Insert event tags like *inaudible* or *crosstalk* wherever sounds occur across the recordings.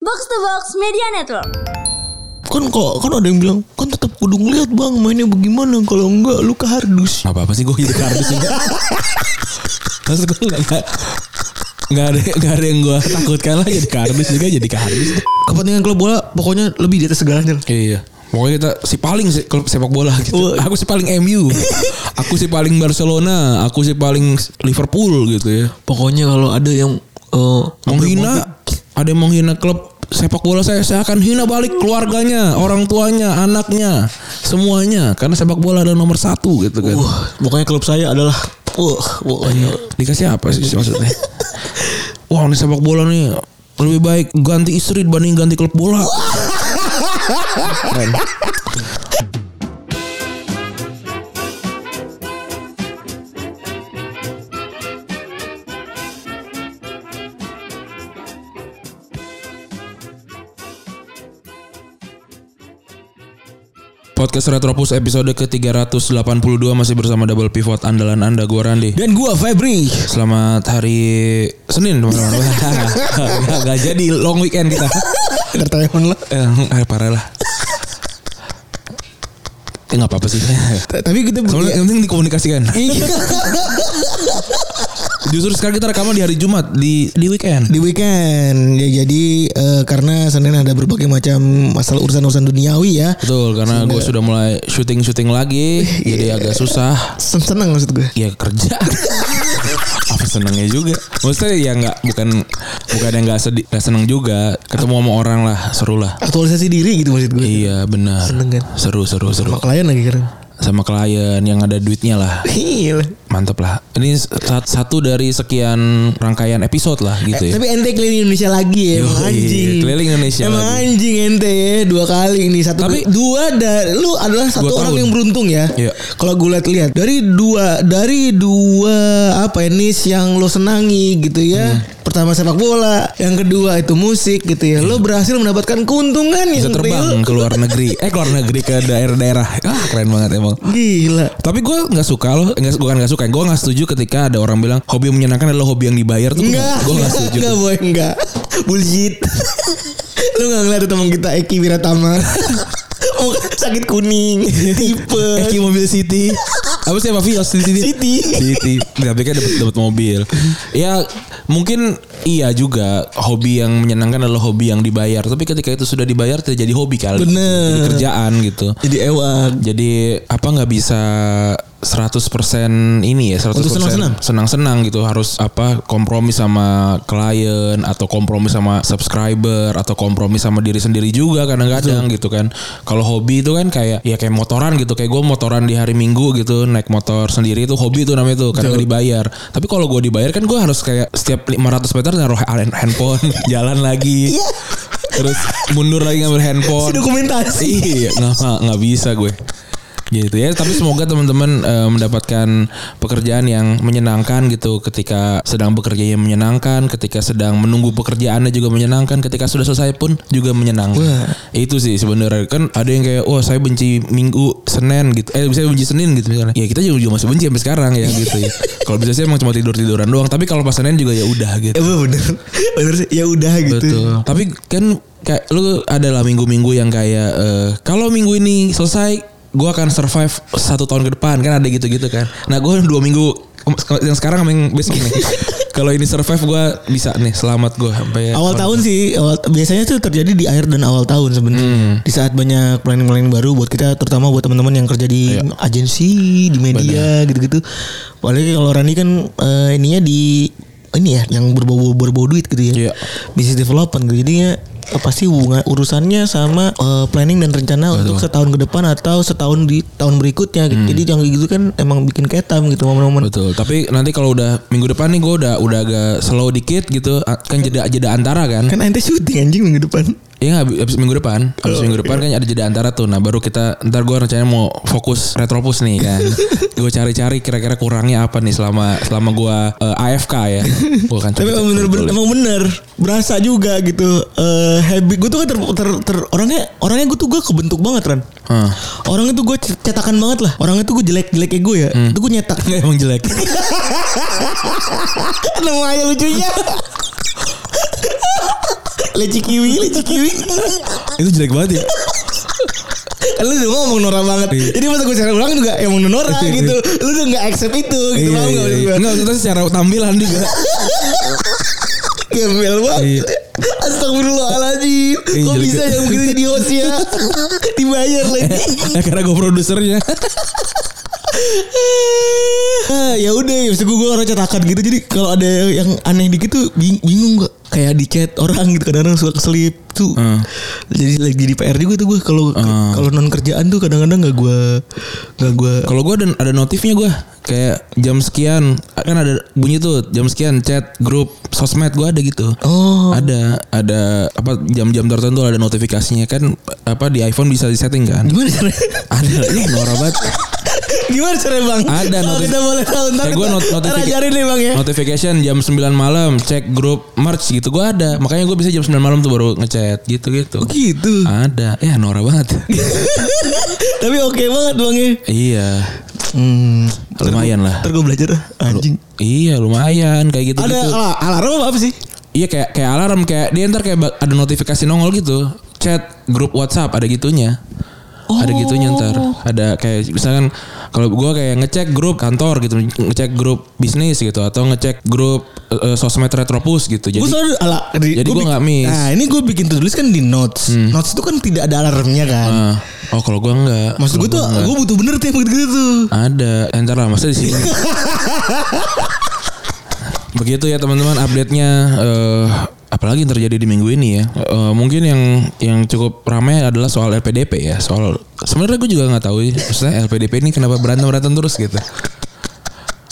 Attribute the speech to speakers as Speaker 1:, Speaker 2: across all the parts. Speaker 1: Box to Box Media Network.
Speaker 2: kan kok kan ada yang bilang kan tetap kudu ngeliat bang mainnya bagaimana kalau enggak lu kehardus
Speaker 3: apa apa sih gue gitu kardus juga maksud gue nggak nggak nggak ada nggak ada yang gue takutkan lah jadi kardus juga jadi kardus
Speaker 2: kepentingan klub bola pokoknya lebih di atas segalanya
Speaker 3: iya Pokoknya kita si paling sih klub sepak bola gitu.
Speaker 2: Wah.
Speaker 3: Aku si paling MU. Aku si paling Barcelona. Aku si paling Liverpool gitu ya.
Speaker 2: pokoknya kalau ada yang eh,
Speaker 3: Menghina. Ada yang menghina klub sepak bola saya. Saya akan hina balik keluarganya. Orang tuanya. Anaknya. Semuanya. Karena sepak bola adalah nomor satu
Speaker 4: Uh.
Speaker 3: gitu kan.
Speaker 2: wah pokoknya klub saya adalah wah pokoknya
Speaker 3: Oh, iya. Dikasih apa sih maksudnya? Wah ini sepak bola nih lebih baik ganti istri dibanding ganti klub bola. Keren. Podcast Retropus episode ke-382 masih bersama double pivot andalan Anda gue Randi.
Speaker 2: dan gua Febri
Speaker 3: Selamat hari Senin
Speaker 2: *laughs*
Speaker 3: teman-teman. Nggak- nggak jadi long weekend kita.
Speaker 2: tertelepon lah
Speaker 3: Eh, hari parah lah. Eh nggak apa-apa sih.
Speaker 2: tapi kita Iya.
Speaker 3: Soalnya yang penting
Speaker 2: *laughs*
Speaker 3: dikomunikasikan. Justru sekarang kita rekaman di hari Jumat di di weekend.
Speaker 4: di weekend ya jadi eh, karena Senin ada berbagai macam masalah urusan-urusan duniawi ya
Speaker 3: Betul karena gue sudah mulai syuting syuting
Speaker 2: *laughs*
Speaker 3: lagi
Speaker 2: Iya.
Speaker 3: jadi agak susah.
Speaker 4: Sen- seneng maksud gue
Speaker 3: Ya kerja. apa senangnya juga maksudnya ya nggak bukan bukan yang nggak sedih nggak seneng juga ketemu sama orang lah seru lah
Speaker 4: aktualisasi diri gitu maksud gue
Speaker 3: Iya benar.
Speaker 4: Seneng kan?
Speaker 3: Seru seru seru.
Speaker 4: sama klien lagi keren
Speaker 3: Sama klien yang ada duitnya lah.
Speaker 4: Gila.
Speaker 3: Mantep lah. Ini sa- satu dari sekian rangkaian episode lah gitu
Speaker 4: Eh,
Speaker 3: ya.
Speaker 4: tapi ente keliling Indonesia lagi ya emang
Speaker 3: Yoi,
Speaker 4: anjing
Speaker 3: keliling Indonesia
Speaker 4: emang
Speaker 3: lagi.
Speaker 4: anjing ente ya dua kali ini satu
Speaker 3: Tapi-
Speaker 4: dua dari lu adalah satu
Speaker 3: Dua
Speaker 4: orang
Speaker 3: tahun.
Speaker 4: yang beruntung ya
Speaker 3: Iya.
Speaker 4: kalau gue lihat-lihat dari dua dari dua apa ini yang lo senangi gitu ya
Speaker 3: Hmm.
Speaker 4: pertama sepak bola yang kedua itu musik gitu ya lo berhasil mendapatkan keuntungan
Speaker 3: Iya. Bisa
Speaker 4: yang real
Speaker 3: terbang ke luar negeri. Eh keluar negeri ke daerah-daerah. Ah keren banget emang.
Speaker 4: Gila.
Speaker 3: Tapi gue nggak suka loh, nggak bukan nggak suka, gue nggak setuju ketika ada orang bilang hobi yang menyenangkan adalah hobi yang dibayar tuh.
Speaker 4: Enggak,
Speaker 3: gue nggak setuju.
Speaker 4: Enggak, boy, enggak. Bullshit. Lu enggak ngeliat teman kita Eki Wiratama. Oh, sakit
Speaker 3: *laughs*
Speaker 4: kuning, tipe.
Speaker 3: Eki mobil City. Apa sih apa Vios di City?
Speaker 4: City.
Speaker 3: City. Tapi kan dapat dapat mobil. Ya mungkin iya juga hobi yang menyenangkan adalah hobi yang dibayar. Tapi ketika itu sudah dibayar tidak jadi hobi kali.
Speaker 4: Bener.
Speaker 3: Jadi kerjaan gitu.
Speaker 4: Jadi ewang.
Speaker 3: Jadi apa nggak bisa 100% ini ya 100%
Speaker 4: Untuk senang-senang?
Speaker 3: senang-senang gitu harus apa kompromi sama klien atau kompromi sama subscriber atau kompromi sama diri sendiri juga kadang-kadang gitu kan kalau hobi itu kan kayak ya kayak motoran gitu kayak gue motoran di hari minggu gitu naik motor sendiri itu hobi tuh namanya tuh karena nggak dibayar tapi kalau gue dibayar kan gue harus kayak setiap 500 meter naruh hand- handphone *laughs* jalan lagi
Speaker 4: Iya.
Speaker 3: terus mundur lagi ngambil handphone
Speaker 4: Si dokumentasi.
Speaker 3: *laughs* Iya, nggak nggak- nggak bisa gue. Gitu ya, tapi semoga teman-teman eh, mendapatkan pekerjaan yang menyenangkan gitu ketika sedang bekerja yang menyenangkan, ketika sedang menunggu pekerjaannya juga menyenangkan, ketika sudah selesai pun juga menyenangkan. Itu sih sebenarnya kan ada yang kayak wah saya benci Minggu, Senin gitu. Eh saya benci Senin gitu misalnya. Ya kita juga juga masih benci sampai sekarang ya gitu ya. Kalau bisa sih emang cuma tidur-tiduran doang, tapi kalau pas Senin juga ya udah gitu.
Speaker 4: Eh, bener. Bener sih. Ya udah gitu.
Speaker 3: Betul. Tapi kan kayak lu adalah minggu-minggu yang kayak eh, kalau minggu ini selesai gua akan survive satu tahun ke depan kan ada gitu-gitu kan. Nah gua dua minggu yang sekarang sama yang besok
Speaker 4: *laughs*
Speaker 3: nih. kalau ini survive gua bisa nih selamat gua sampai
Speaker 4: Awal tahun sih, awal, biasanya tuh terjadi di akhir dan awal tahun
Speaker 3: Hmm.
Speaker 4: sebenarnya. Di saat banyak planning-planning baru buat kita, terutama buat teman-teman yang kerja di
Speaker 3: Iya.
Speaker 4: agensi, di media gitu-gitu. Apalagi kalau Rani kan eh, ininya di ini ya yang berbau berbau duit gitu ya.
Speaker 3: Iya.
Speaker 4: Bisnis development gitu. Jadinya eh, pasti hubungan urusannya sama eh, planning dan rencana untuk setahun ke depan atau setahun di tahun berikutnya gitu. Jadi yang gitu kan emang bikin ketam gitu momen-momen.
Speaker 3: Hmm. Betul. Tapi nanti kalau udah minggu depan nih gua udah udah agak slow dikit gitu a- kan jeda jeda antara kan.
Speaker 4: Kan ente syuting anjing minggu depan.
Speaker 3: Iya habis, habis minggu depan,
Speaker 4: Oh,
Speaker 3: habis minggu
Speaker 4: iya.
Speaker 3: depan kan ada jeda antara tuh. Nah baru kita ntar gue rencananya mau fokus retropus nih
Speaker 4: *laughs*
Speaker 3: kan. gue cari-cari kira-kira kurangnya apa nih selama selama gue AFK ya. Gue kan
Speaker 4: Tapi emang bener, bener emang bener berasa juga gitu eh habit gue tuh kan ter, ter- ter- orangnya orangnya gue tuh gue kebentuk banget Ran
Speaker 3: Hah.
Speaker 4: orangnya tuh gue cetakan banget lah orangnya tuh gue jelek jeleknya gue ya
Speaker 3: Hmm.
Speaker 4: itu gue nyetak *laughs*
Speaker 3: emang jelek.
Speaker 4: nama aja lucunya *laughs* leci kiwi, leci kiwi.
Speaker 3: *laughs* Itu jelek banget ya.
Speaker 4: Kan lu udah ngomong Nora banget.
Speaker 3: Iya.
Speaker 4: Jadi pas gue cari ulang juga emang Nora gitu. Lu udah gak accept itu gitu.
Speaker 3: Iya,
Speaker 4: paham nggak
Speaker 3: iya,
Speaker 4: maksud
Speaker 3: iya.
Speaker 4: gua?
Speaker 3: Enggak, maksudnya secara tampilan juga.
Speaker 4: Gembel banget. Astagfirullahaladzim.
Speaker 3: Iya,
Speaker 4: Kok
Speaker 3: jelek.
Speaker 4: bisa yang begitu jadi host
Speaker 3: *laughs*
Speaker 4: ya? Dibayar lagi.
Speaker 3: Eh, Karena gue produsernya. *laughs*
Speaker 4: Ah, ya udah ya maksud gue gue orang cetakan gitu jadi kalau ada yang aneh dikit tuh bing- bingung gak kayak di chat orang gitu kadang-kadang suka keselip tuh
Speaker 3: Hmm.
Speaker 4: jadi lagi jadi PR juga tuh gue kalau
Speaker 3: Hmm.
Speaker 4: kalau non kerjaan tuh kadang-kadang nggak gue nggak gue
Speaker 3: Kalau gue ada, ada notifnya gue kayak jam sekian kan ada bunyi tuh jam sekian chat grup sosmed gue ada gitu.
Speaker 4: Oh.
Speaker 3: Ada ada apa jam-jam tertentu ada notifikasinya kan apa di iPhone bisa disetting
Speaker 4: *laughs*
Speaker 3: kan?
Speaker 4: gimana
Speaker 3: *laughs*
Speaker 4: caranya
Speaker 3: Ada ini norak banget.
Speaker 4: gimana caranya bang
Speaker 3: Ada
Speaker 4: Kalau
Speaker 3: notif-
Speaker 4: kita boleh tahu ntar
Speaker 3: Ya,
Speaker 4: kita
Speaker 3: gua not-
Speaker 4: ntar
Speaker 3: notifikasi-
Speaker 4: ajarin nih bang ya
Speaker 3: Notification jam 9 malam cek grup merch gitu gue ada. Makanya gue bisa jam 9 malam tuh baru ngechat gitu-gitu.
Speaker 4: Oh, gitu
Speaker 3: Ada. Ya norak
Speaker 4: *laughs*
Speaker 3: banget.
Speaker 4: tapi oke banget bang ya
Speaker 3: iya.
Speaker 4: hmm,
Speaker 3: Lumayan lah.
Speaker 4: ntar gue belajar dah. anjing
Speaker 3: Iya lumayan kayak gitu.
Speaker 4: ada ala- alarm apa, apa sih
Speaker 3: Iya kayak kayak alarm kayak dia ntar kayak ba- ada notifikasi nongol gitu. Chat grup WhatsApp ada gitunya. Ada gitunya ntar. Ada kayak misalkan kalau gua kayak ngecek grup kantor gitu, ngecek grup bisnis gitu atau ngecek grup eh, eh, sosmed Retropus gitu.
Speaker 4: Gue
Speaker 3: Jadi
Speaker 4: selalu ala, di-
Speaker 3: jadi gua
Speaker 4: bikin-
Speaker 3: nggak miss. Hmm.
Speaker 4: Nah ini gue bikin to do list kan di notes. Notes itu kan tidak ada alarmnya kan.
Speaker 3: eh, oh kalau gua enggak.
Speaker 4: Maksud
Speaker 3: Kalau
Speaker 4: gue tuh
Speaker 3: gua enggak.
Speaker 4: gue butuh bener tuh yang gitu tuh.
Speaker 3: ada Eh, ntar lah masa di sini. Begitu ya teman-teman update-nya eh, apalagi yang terjadi di minggu ini ya. Eh, mungkin yang yang cukup ramai adalah soal LPDP ya. Soal sebenarnya gue juga nggak tahu ya. Maksudnya LPDP ini kenapa berantem-berantem terus gitu.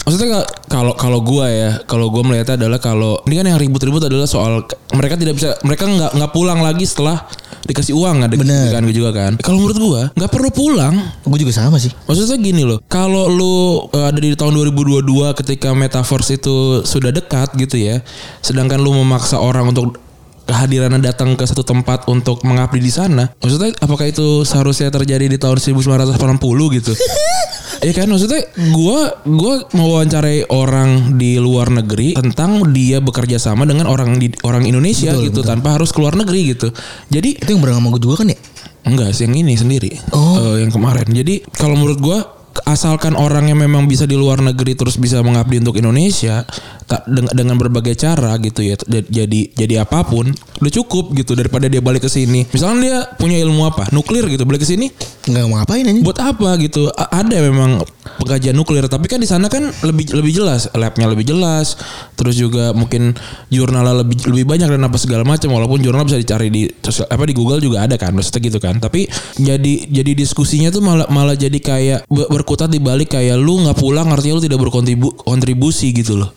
Speaker 3: Maksudnya nggak- kalau kalau gua ya, kalau gua melihatnya adalah kalau ini kan yang ribut-ribut adalah soal ke- mereka tidak bisa mereka nggak nggak pulang lagi setelah dikasih uang ada
Speaker 4: Bener.
Speaker 3: kan juga kan. Kalau menurut gua nggak perlu pulang.
Speaker 4: Gue juga sama sih.
Speaker 3: Maksudnya gini loh, kalau lu eh, ada di tahun 2022 ketika metaverse itu sudah dekat gitu ya, sedangkan lu memaksa orang untuk kehadirannya datang ke satu tempat untuk mengabdi di sana, maksudnya apakah itu seharusnya terjadi di tahun 1980
Speaker 4: *laughs*
Speaker 3: gitu? Iya kan maksudnya gua gua mewawancarai orang di luar negeri tentang dia bekerja sama dengan orang di orang Indonesia
Speaker 4: Betul,
Speaker 3: gitu tanpa harus keluar negeri gitu. Jadi
Speaker 4: Itu yang bareng sama gue juga kan ya.
Speaker 3: Enggak sih yang ini sendiri.
Speaker 4: Oh.
Speaker 3: Eh, yang kemarin. Jadi kalau menurut gua asalkan orang yang memang bisa di luar negeri terus bisa mengabdi untuk Indonesia tak dengan, dengan berbagai cara gitu ya da- jadi jadi apapun udah cukup gitu daripada dia balik ke sini misalnya dia punya ilmu apa nuklir gitu balik ke sini
Speaker 4: Nggak mau ngapain aja.
Speaker 3: buat apa gitu A- ada memang pengkajian nuklir tapi kan di sana kan lebih lebih jelas labnya lebih jelas terus juga mungkin jurnalnya lebih lebih banyak dan apa segala macam walaupun jurnal bisa dicari di sosial- apa di Google juga ada kan maksudnya gitu kan tapi jadi jadi diskusinya tuh malah malah jadi kayak be- berkutat di balik kayak lu nggak pulang artinya lu tidak berkontribusi gitu loh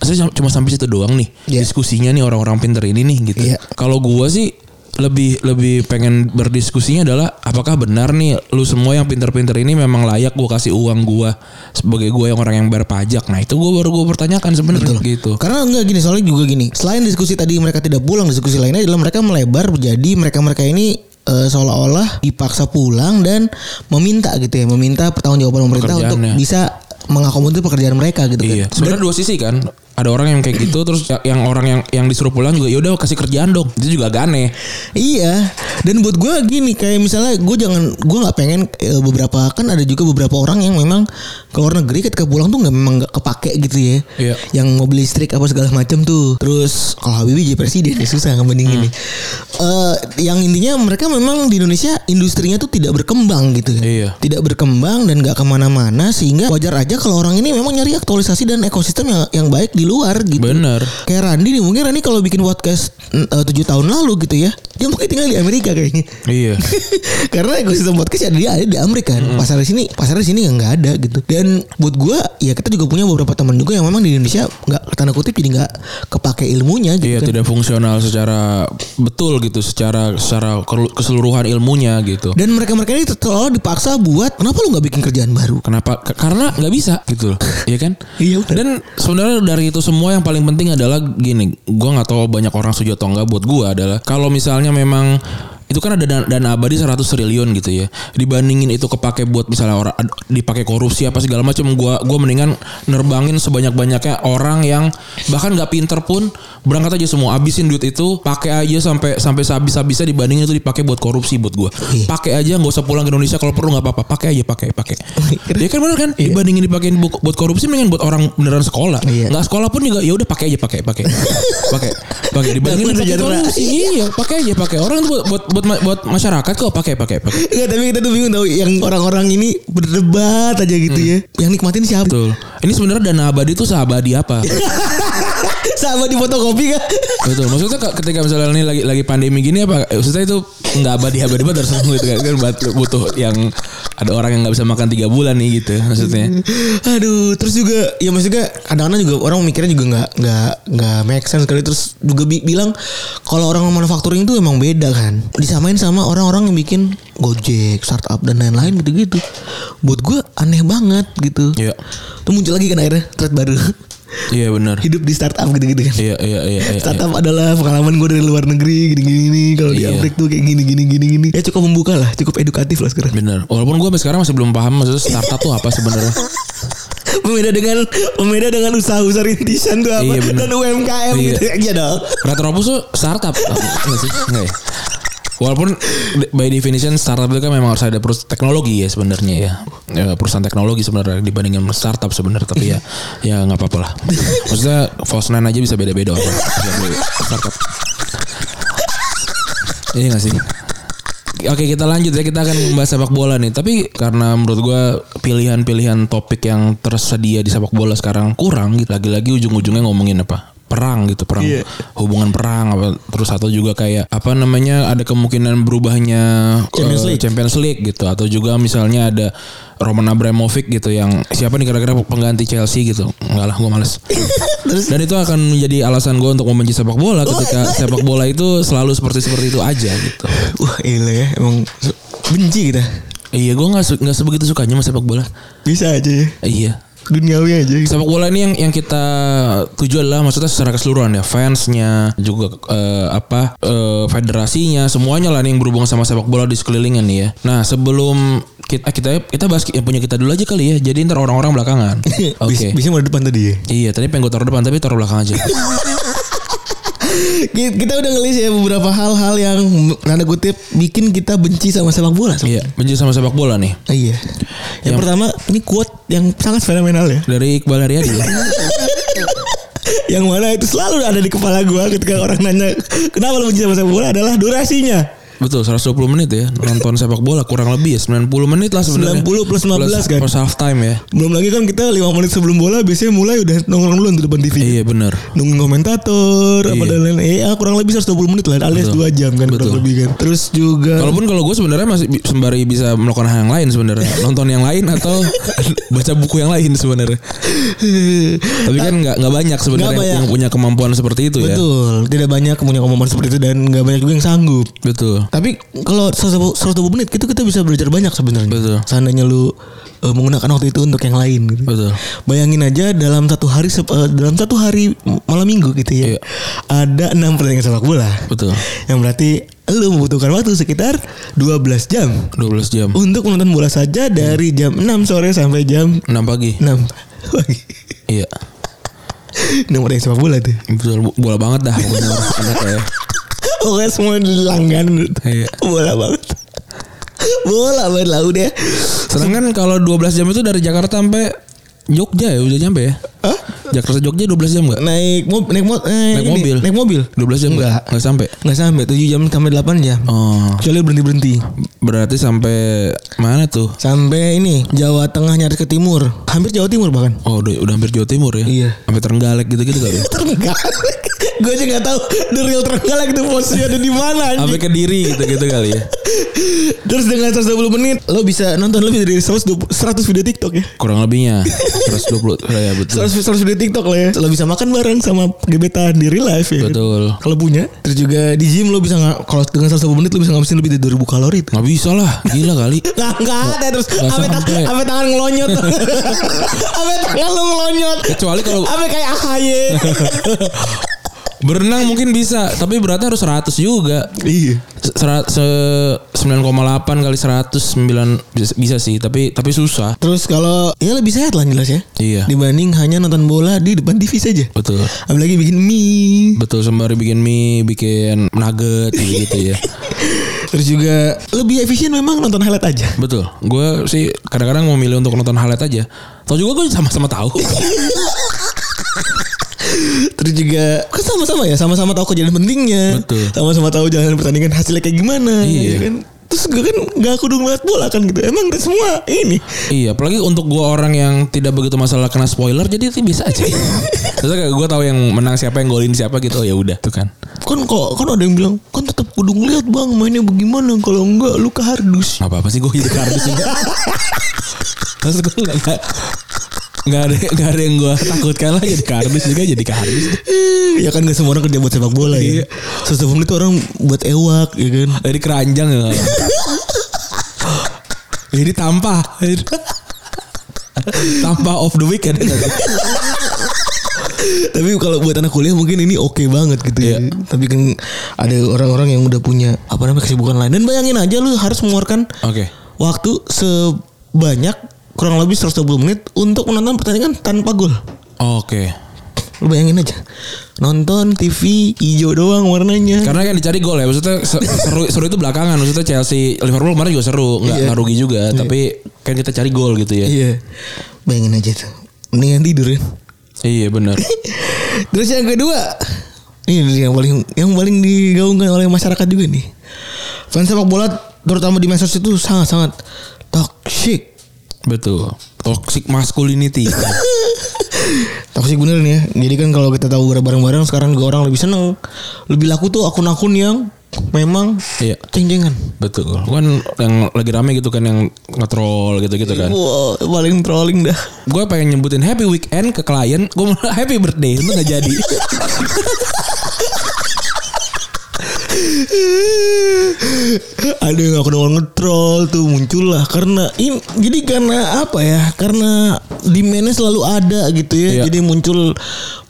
Speaker 3: saya cuma sampai situ doang nih
Speaker 4: Iya.
Speaker 3: diskusinya nih orang-orang pinter ini nih gitu
Speaker 4: Iya.
Speaker 3: kalau gua sih lebih lebih pengen berdiskusinya adalah apakah benar nih lu semua yang pinter-pinter ini memang layak gua kasih uang gua sebagai gua yang orang yang bayar pajak. Nah, itu gua baru gua pertanyakan sebenarnya gitu.
Speaker 4: Karena enggak gini soalnya juga gini. Selain diskusi tadi mereka tidak pulang, diskusi lainnya adalah mereka melebar jadi mereka-mereka ini eh, seolah-olah dipaksa pulang dan meminta gitu ya, meminta pertanggungjawaban pemerintah untuk
Speaker 3: Pekerjaannya.
Speaker 4: bisa mengakomodir pekerjaan mereka gitu
Speaker 3: Iya,
Speaker 4: kan.
Speaker 3: sebenarnya dua sisi kan. Ada orang yang kayak gitu terus ya- yang orang yang yang disuruh pulang juga ya udah kasih kerjaan dong. Itu juga agak aneh.
Speaker 4: Iya, dan buat gue gini kayak misalnya gue jangan gue nggak pengen e, beberapa kan ada juga beberapa orang yang memang ke luar negeri ketika pulang tuh nggak memang nggak kepake gitu ya,
Speaker 3: Iya.
Speaker 4: yang mobil listrik apa segala macam tuh. Terus kalau Habibie jadi presiden ya susah ngebandingin
Speaker 3: Hmm.
Speaker 4: nih. Eh, yang intinya mereka memang di Indonesia industrinya tuh tidak berkembang gitu kan,
Speaker 3: Iya.
Speaker 4: tidak berkembang dan nggak kemana-mana sehingga wajar aja kalau orang ini memang nyari aktualisasi dan ekosistem yang yang baik di luar gitu.
Speaker 3: Bener.
Speaker 4: Kayak Randi nih mungkin Randi kalau bikin podcast mm, eh, tujuh tahun lalu gitu ya, dia mungkin tinggal di Amerika kayaknya. *laughs*
Speaker 3: Iya.
Speaker 4: Karena ekosistem podcast ada dia ada di Amerika kan. Pasar di sini, pasar di sini nggak ada gitu. Dan buat gua ya kita juga punya beberapa teman juga yang memang di Indonesia nggak tanda kutip jadi nggak kepake ilmunya gitu.
Speaker 3: Iya
Speaker 4: kan.
Speaker 3: tidak fungsional secara betul gitu, secara secara keseluruhan ilmunya gitu.
Speaker 4: Dan mereka-mereka ini seolah dipaksa buat kenapa lu nggak bikin kerjaan baru? *laughs*
Speaker 3: Kenapa? K- Karena nggak bisa gitu loh, iya kan?
Speaker 4: Iya, bener.
Speaker 3: Dan sebenarnya dari itu semua yang paling penting adalah gini, gua nggak tahu banyak orang setuju atau enggak buat gua adalah kalau misalnya memang itu kan ada dan, dana abadi 100 triliun gitu ya dibandingin itu kepake buat misalnya orang ad- dipakai korupsi apa segala macam gua gua mendingan nerbangin sebanyak banyaknya orang yang bahkan nggak pinter pun berangkat aja semua abisin duit itu pakai aja sampai sampai sehabis habisnya dibandingin itu dipakai buat korupsi buat gua pakai aja nggak usah pulang ke Indonesia kalau perlu nggak apa-apa pakai aja pakai pakai ya kan bener kan dibandingin dipakein bu- buat korupsi mendingan buat orang beneran sekolah
Speaker 4: Iya.
Speaker 3: nggak sekolah pun juga ya udah pakai aja pakai pakai pakai pakai dibandingin
Speaker 4: Bangun
Speaker 3: pakai
Speaker 4: sejahtera.
Speaker 3: korupsi iya pakai aja pakai orang itu buat buat buat, ma- buat masyarakat kok pakai pakai pakai
Speaker 4: Enggak tapi kita tuh bingung tau yang orang-orang ini berdebat aja gitu ya. Yang nikmatin siapa?
Speaker 3: Mm. betul ini sebenarnya dana abadi itu seabadi apa
Speaker 4: *laughs* Sama di fotokopi kan?
Speaker 3: betul maksudnya ke- ketika misalnya ini lagi lagi pandemi gini apa eh, maksudnya itu nggak abadi abadi banget harus nunggu gitu kan Kan buat- butuh yang ada orang yang nggak bisa makan tiga bulan nih gitu maksudnya
Speaker 4: Aduh, terus juga ya maksudnya kadang-kadang juga orang mikirnya juga nggak nggak nggak make sense kali terus juga bi- bilang kalau orang manufacturing itu emang beda kan. Disamain sama orang-orang yang bikin Gojek, startup dan lain-lain gitu-gitu. Buat gue aneh banget gitu.
Speaker 3: Iya.
Speaker 4: Tuh muncul lagi kan akhirnya thread baru. *laughs*
Speaker 3: iya benar
Speaker 4: Hidup di startup gitu-gitu kan.
Speaker 3: iya iya iya, iya, iya.
Speaker 4: Startup adalah pengalaman gue dari luar negeri gini-gini kalau di
Speaker 3: Iya.
Speaker 4: Amrik tuh kayak gini-gini gini-gini. Ya cukup membuka lah, cukup edukatif lah sekarang.
Speaker 3: benar walaupun gue sampai sekarang masih belum paham maksudnya startup tuh apa sebenarnya
Speaker 4: Pembeda dengan pembeda dengan usaha-usaha rintisan tuh apa
Speaker 3: Iya, bener.
Speaker 4: dan UMKM
Speaker 3: Iya.
Speaker 4: gitu. Iya dong.
Speaker 3: Retropus tuh startup Enggak sih Enggak ya Walaupun de- by definition startup itu kan memang harus ada perus- teknologi ya sebenarnya ya. Ya, perusahaan teknologi sebenarnya dibandingkan startup sebenarnya tapi ya ya nggak apa-apa lah. Maksudnya Fosnan aja bisa beda-beda orang sebagai startup. Iya nggak sih? Oke kita lanjut ya kita akan membahas sepak bola nih tapi karena menurut gua pilihan-pilihan topik yang tersedia di sepak bola sekarang kurang gitu lagi-lagi ujung-ujungnya ngomongin apa perang gitu perang
Speaker 4: Iya.
Speaker 3: hubungan perang apa terus atau juga kayak apa namanya ada kemungkinan berubahnya
Speaker 4: Champions
Speaker 3: eh,
Speaker 4: League.
Speaker 3: Champions League gitu atau juga misalnya ada Roman Abramovich gitu yang siapa nih kira-kira pengganti Chelsea gitu nggak lah gua males dan itu akan menjadi alasan gua untuk membenci sepak bola
Speaker 4: Oh,
Speaker 3: ketika sepak bola itu selalu seperti seperti itu aja gitu
Speaker 4: Wah, gila ya. Emang benci kita.
Speaker 3: Iya, gue nggak su- nggak sebegitu sukanya sama sepak bola.
Speaker 4: Bisa aja ya.
Speaker 3: Iya.
Speaker 4: Duniawi aja. gitu.
Speaker 3: Sepak bola ini yang yang kita tuju adalah maksudnya secara keseluruhan ya fansnya juga eh, apa eh, federasinya semuanya lah nih yang berhubungan sama sepak bola di sekelilingan nih ya. Nah sebelum kita eh, kita kita bahas yang punya kita dulu aja kali ya. Jadi ntar orang-orang belakangan. Oke.
Speaker 4: Bis- *laughs* *laughs* Bisa mulai depan tadi ya.
Speaker 3: Iya tadi pengen gue taruh depan tapi taruh belakang aja.
Speaker 4: Ki- Kita udah ngelis ya beberapa hal-hal yang nada kutip bikin kita benci sama sepak bola.
Speaker 3: iya benci sama sepak bola nih
Speaker 4: Ah, Iya. Yang, pertama ini quote yang sangat fenomenal ya.
Speaker 3: dari Iqbal Haryadi.
Speaker 4: *laughs* yang mana itu selalu ada di kepala gua ketika orang nanya kenapa lu benci sama sepak bola adalah durasinya.
Speaker 3: Betul 120 menit ya nonton sepak bola kurang lebih ya 90 menit lah sebenarnya.
Speaker 4: 90 plus 15 kan?
Speaker 3: Plus half time ya.
Speaker 4: Belum lagi kan kita 5 menit sebelum bola biasanya mulai udah nongkrong dulu di depan TV.
Speaker 3: Iya benar.
Speaker 4: Nungguin komentator apa
Speaker 3: Iya.
Speaker 4: dan lain-lain. Ya kurang lebih 120 menit lah alias
Speaker 3: Betul.
Speaker 4: 2 jam kan
Speaker 3: Betul.
Speaker 4: kurang lebih kan. Terus juga *laughs*
Speaker 3: Walaupun kalau gue sebenarnya masih bi- sembari bisa melakukan hal yang lain sebenarnya, nonton yang lain atau *laughs* baca buku yang lain sebenarnya. Tapi kan nggak nggak banyak sebenarnya
Speaker 4: Nggak
Speaker 3: yang,
Speaker 4: banyak.
Speaker 3: yang punya kemampuan seperti itu ya.
Speaker 4: betul, tidak banyak punya omongan seperti itu dan nggak banyak juga yang sanggup.
Speaker 3: Betul.
Speaker 4: Tapi kalau 120 120 menit itu kita bisa belajar banyak sebenarnya.
Speaker 3: Betul.
Speaker 4: Seandainya lu eh, menggunakan waktu itu untuk yang lain gitu.
Speaker 3: Betul.
Speaker 4: Bayangin aja dalam satu hari sep- eh, dalam satu hari malam minggu gitu ya.
Speaker 3: Iya.
Speaker 4: Ada 6 pertandingan sepak bola.
Speaker 3: Betul.
Speaker 4: Yang berarti lu membutuhkan waktu sekitar 12 jam
Speaker 3: 12 jam.
Speaker 4: untuk menonton bola saja dari jam 6 sore sampai jam
Speaker 3: 6 pagi.
Speaker 4: 6 pagi.
Speaker 3: Iya.
Speaker 4: Enam pertandingan sepak bola tuh.
Speaker 3: Betul bu- bola banget dah pokoknya
Speaker 4: *laughs*
Speaker 3: orang anaknya ya.
Speaker 4: Oke semua langganan
Speaker 3: Iya.
Speaker 4: Bola banget. Bola banget lah udah.
Speaker 3: Sedangkan kalau 12 jam itu dari Jakarta sampai Jogja ya udah nyampe ya.
Speaker 4: Hah?
Speaker 3: Jakarta Jogja 12 jam enggak?
Speaker 4: Naik mobil naik, mo- eh,
Speaker 3: Naik
Speaker 4: ini,
Speaker 3: mobil.
Speaker 4: Naik mobil.
Speaker 3: 12 jam enggak? Enggak sampai.
Speaker 4: Enggak sampai 7 jam sampai 8 jam.
Speaker 3: Oh,
Speaker 4: Kecuali berhenti-berhenti.
Speaker 3: berarti sampai mana tuh?
Speaker 4: Sampai ini Jawa Tengah nyaris ke timur. Hampir Jawa Timur bahkan.
Speaker 3: Oh, udah, udah hampir Jawa Timur ya.
Speaker 4: Iya.
Speaker 3: Sampai Terenggalek gitu-gitu kali.
Speaker 4: *laughs*
Speaker 3: ya?
Speaker 4: Terenggalek. Gue aja gak tahu The real Terenggalek itu posisinya ada di mana anjing.
Speaker 3: Sampai ke diri gitu-gitu kali ya.
Speaker 4: Terus dengan 120 menit lo bisa nonton lebih dari 100, 100 video TikTok ya.
Speaker 3: Kurang lebihnya 120 ya betul.
Speaker 4: 100, 100 video TikTok lah ya. Lo bisa makan bareng sama gebetan di real life ya.
Speaker 3: Betul.
Speaker 4: Kalau punya. Terus juga di gym lo bisa nggak kalau dengan 120 menit lo bisa ngabisin lebih dari 2000 kalori. tuh.
Speaker 3: Nggak bisa lah, gila kali.
Speaker 4: Nggak, nggak ada terus
Speaker 3: nggak
Speaker 4: abe
Speaker 3: sampai.
Speaker 4: tangan, abe tangan ngelonyot. *laughs* abe tangan lo ngelonyot.
Speaker 3: *laughs* Kecuali kalau
Speaker 4: Abe kayak AHY.
Speaker 3: Berenang mungkin bisa, tapi beratnya harus 100 juga.
Speaker 4: Iya.
Speaker 3: Se- sera- se- 9,8 kali 109 bisa, bisa sih, tapi tapi susah.
Speaker 4: Terus kalau ya lebih sehat lah jelas ya.
Speaker 3: Iya.
Speaker 4: Dibanding hanya nonton bola di depan TV saja.
Speaker 3: Betul.
Speaker 4: Apalagi bikin mie.
Speaker 3: Betul sembari bikin mie, bikin nugget gitu, gitu ya.
Speaker 4: Terus juga lebih efisien memang nonton highlight aja.
Speaker 3: Betul. Gue sih kadang-kadang mau milih untuk nonton highlight aja. Tahu juga gue sama-sama tahu.
Speaker 4: Terus juga kan sama-sama ya, sama-sama tahu kejadian pentingnya.
Speaker 3: Betul.
Speaker 4: Sama-sama tahu jalan pertandingan hasilnya kayak gimana.
Speaker 3: Iya.
Speaker 4: ya kan? Terus gue kan gak kudung banget bola kan gitu. Emang semua ini.
Speaker 3: iya, apalagi untuk gue orang yang tidak begitu masalah kena spoiler, jadi itu bisa aja. Terus kayak gue tahu yang menang siapa, yang golin siapa gitu. Oh ya udah, tuh kan.
Speaker 2: Kan kok kan ada yang bilang kan tetap kudu ngeliat bang mainnya bagaimana kalau enggak lu ke hardus.
Speaker 3: Apa apa sih gue jadi kardus juga. Terus gue nggak nggak- nggak ada nggak ada yang gue takutkan lah jadi kardus juga jadi kardus.
Speaker 4: Eh, ya kan gak semua orang kerja buat sepak bola
Speaker 3: Iya.
Speaker 4: ya. Setiap menit orang buat ewak ya kan.
Speaker 3: Dari keranjang ya. jadi tampah. tampah of the weekend.
Speaker 4: Tapi kalau buat anak kuliah mungkin ini oke banget gitu ya. Tapi kan ada orang-orang yang udah punya apa namanya kesibukan lain. Dan bayangin aja lu harus mengeluarkan
Speaker 3: Oke.
Speaker 4: waktu sebanyak kurang lebih 120 menit untuk menonton pertandingan tanpa gol.
Speaker 3: Oke.
Speaker 4: Lu bayangin aja. Nonton TV hijau doang warnanya.
Speaker 3: Karena kan dicari gol ya. Maksudnya se- seru seru itu belakangan. Maksudnya Chelsea Liverpool kemarin juga seru, nggak nggak rugi juga, tapi kan kita cari gol gitu ya.
Speaker 4: Iya. Bayangin aja tuh. Mendingan tidur ya.
Speaker 3: Iya benar.
Speaker 4: Terus yang kedua, ini yang paling yang paling digaungkan oleh masyarakat juga nih. Fans sepak bola terutama di medsos itu sangat-sangat toxic.
Speaker 3: Betul. Toxic masculinity.
Speaker 4: Toxic bener nih ya. Jadi kan kalau kita tahu bareng-bareng sekarang juga orang lebih seneng. Lebih laku tuh akun-akun yang memang
Speaker 3: Iya.
Speaker 4: ceng-cengan.
Speaker 3: Betul. Kan yang lagi rame gitu kan yang nge-troll gitu-gitu kan.
Speaker 4: Wow, paling trolling dah.
Speaker 3: Gue pengen nyebutin happy weekend ke klien, gue mau *laughs* happy birthday, itu gak
Speaker 4: *laughs*
Speaker 3: jadi.
Speaker 4: *laughs* Ada yang akun awal ngetrol tuh muncul lah karena ini jadi karena apa ya? Karena demandnya selalu ada gitu ya.
Speaker 3: Iya.
Speaker 4: Jadi muncul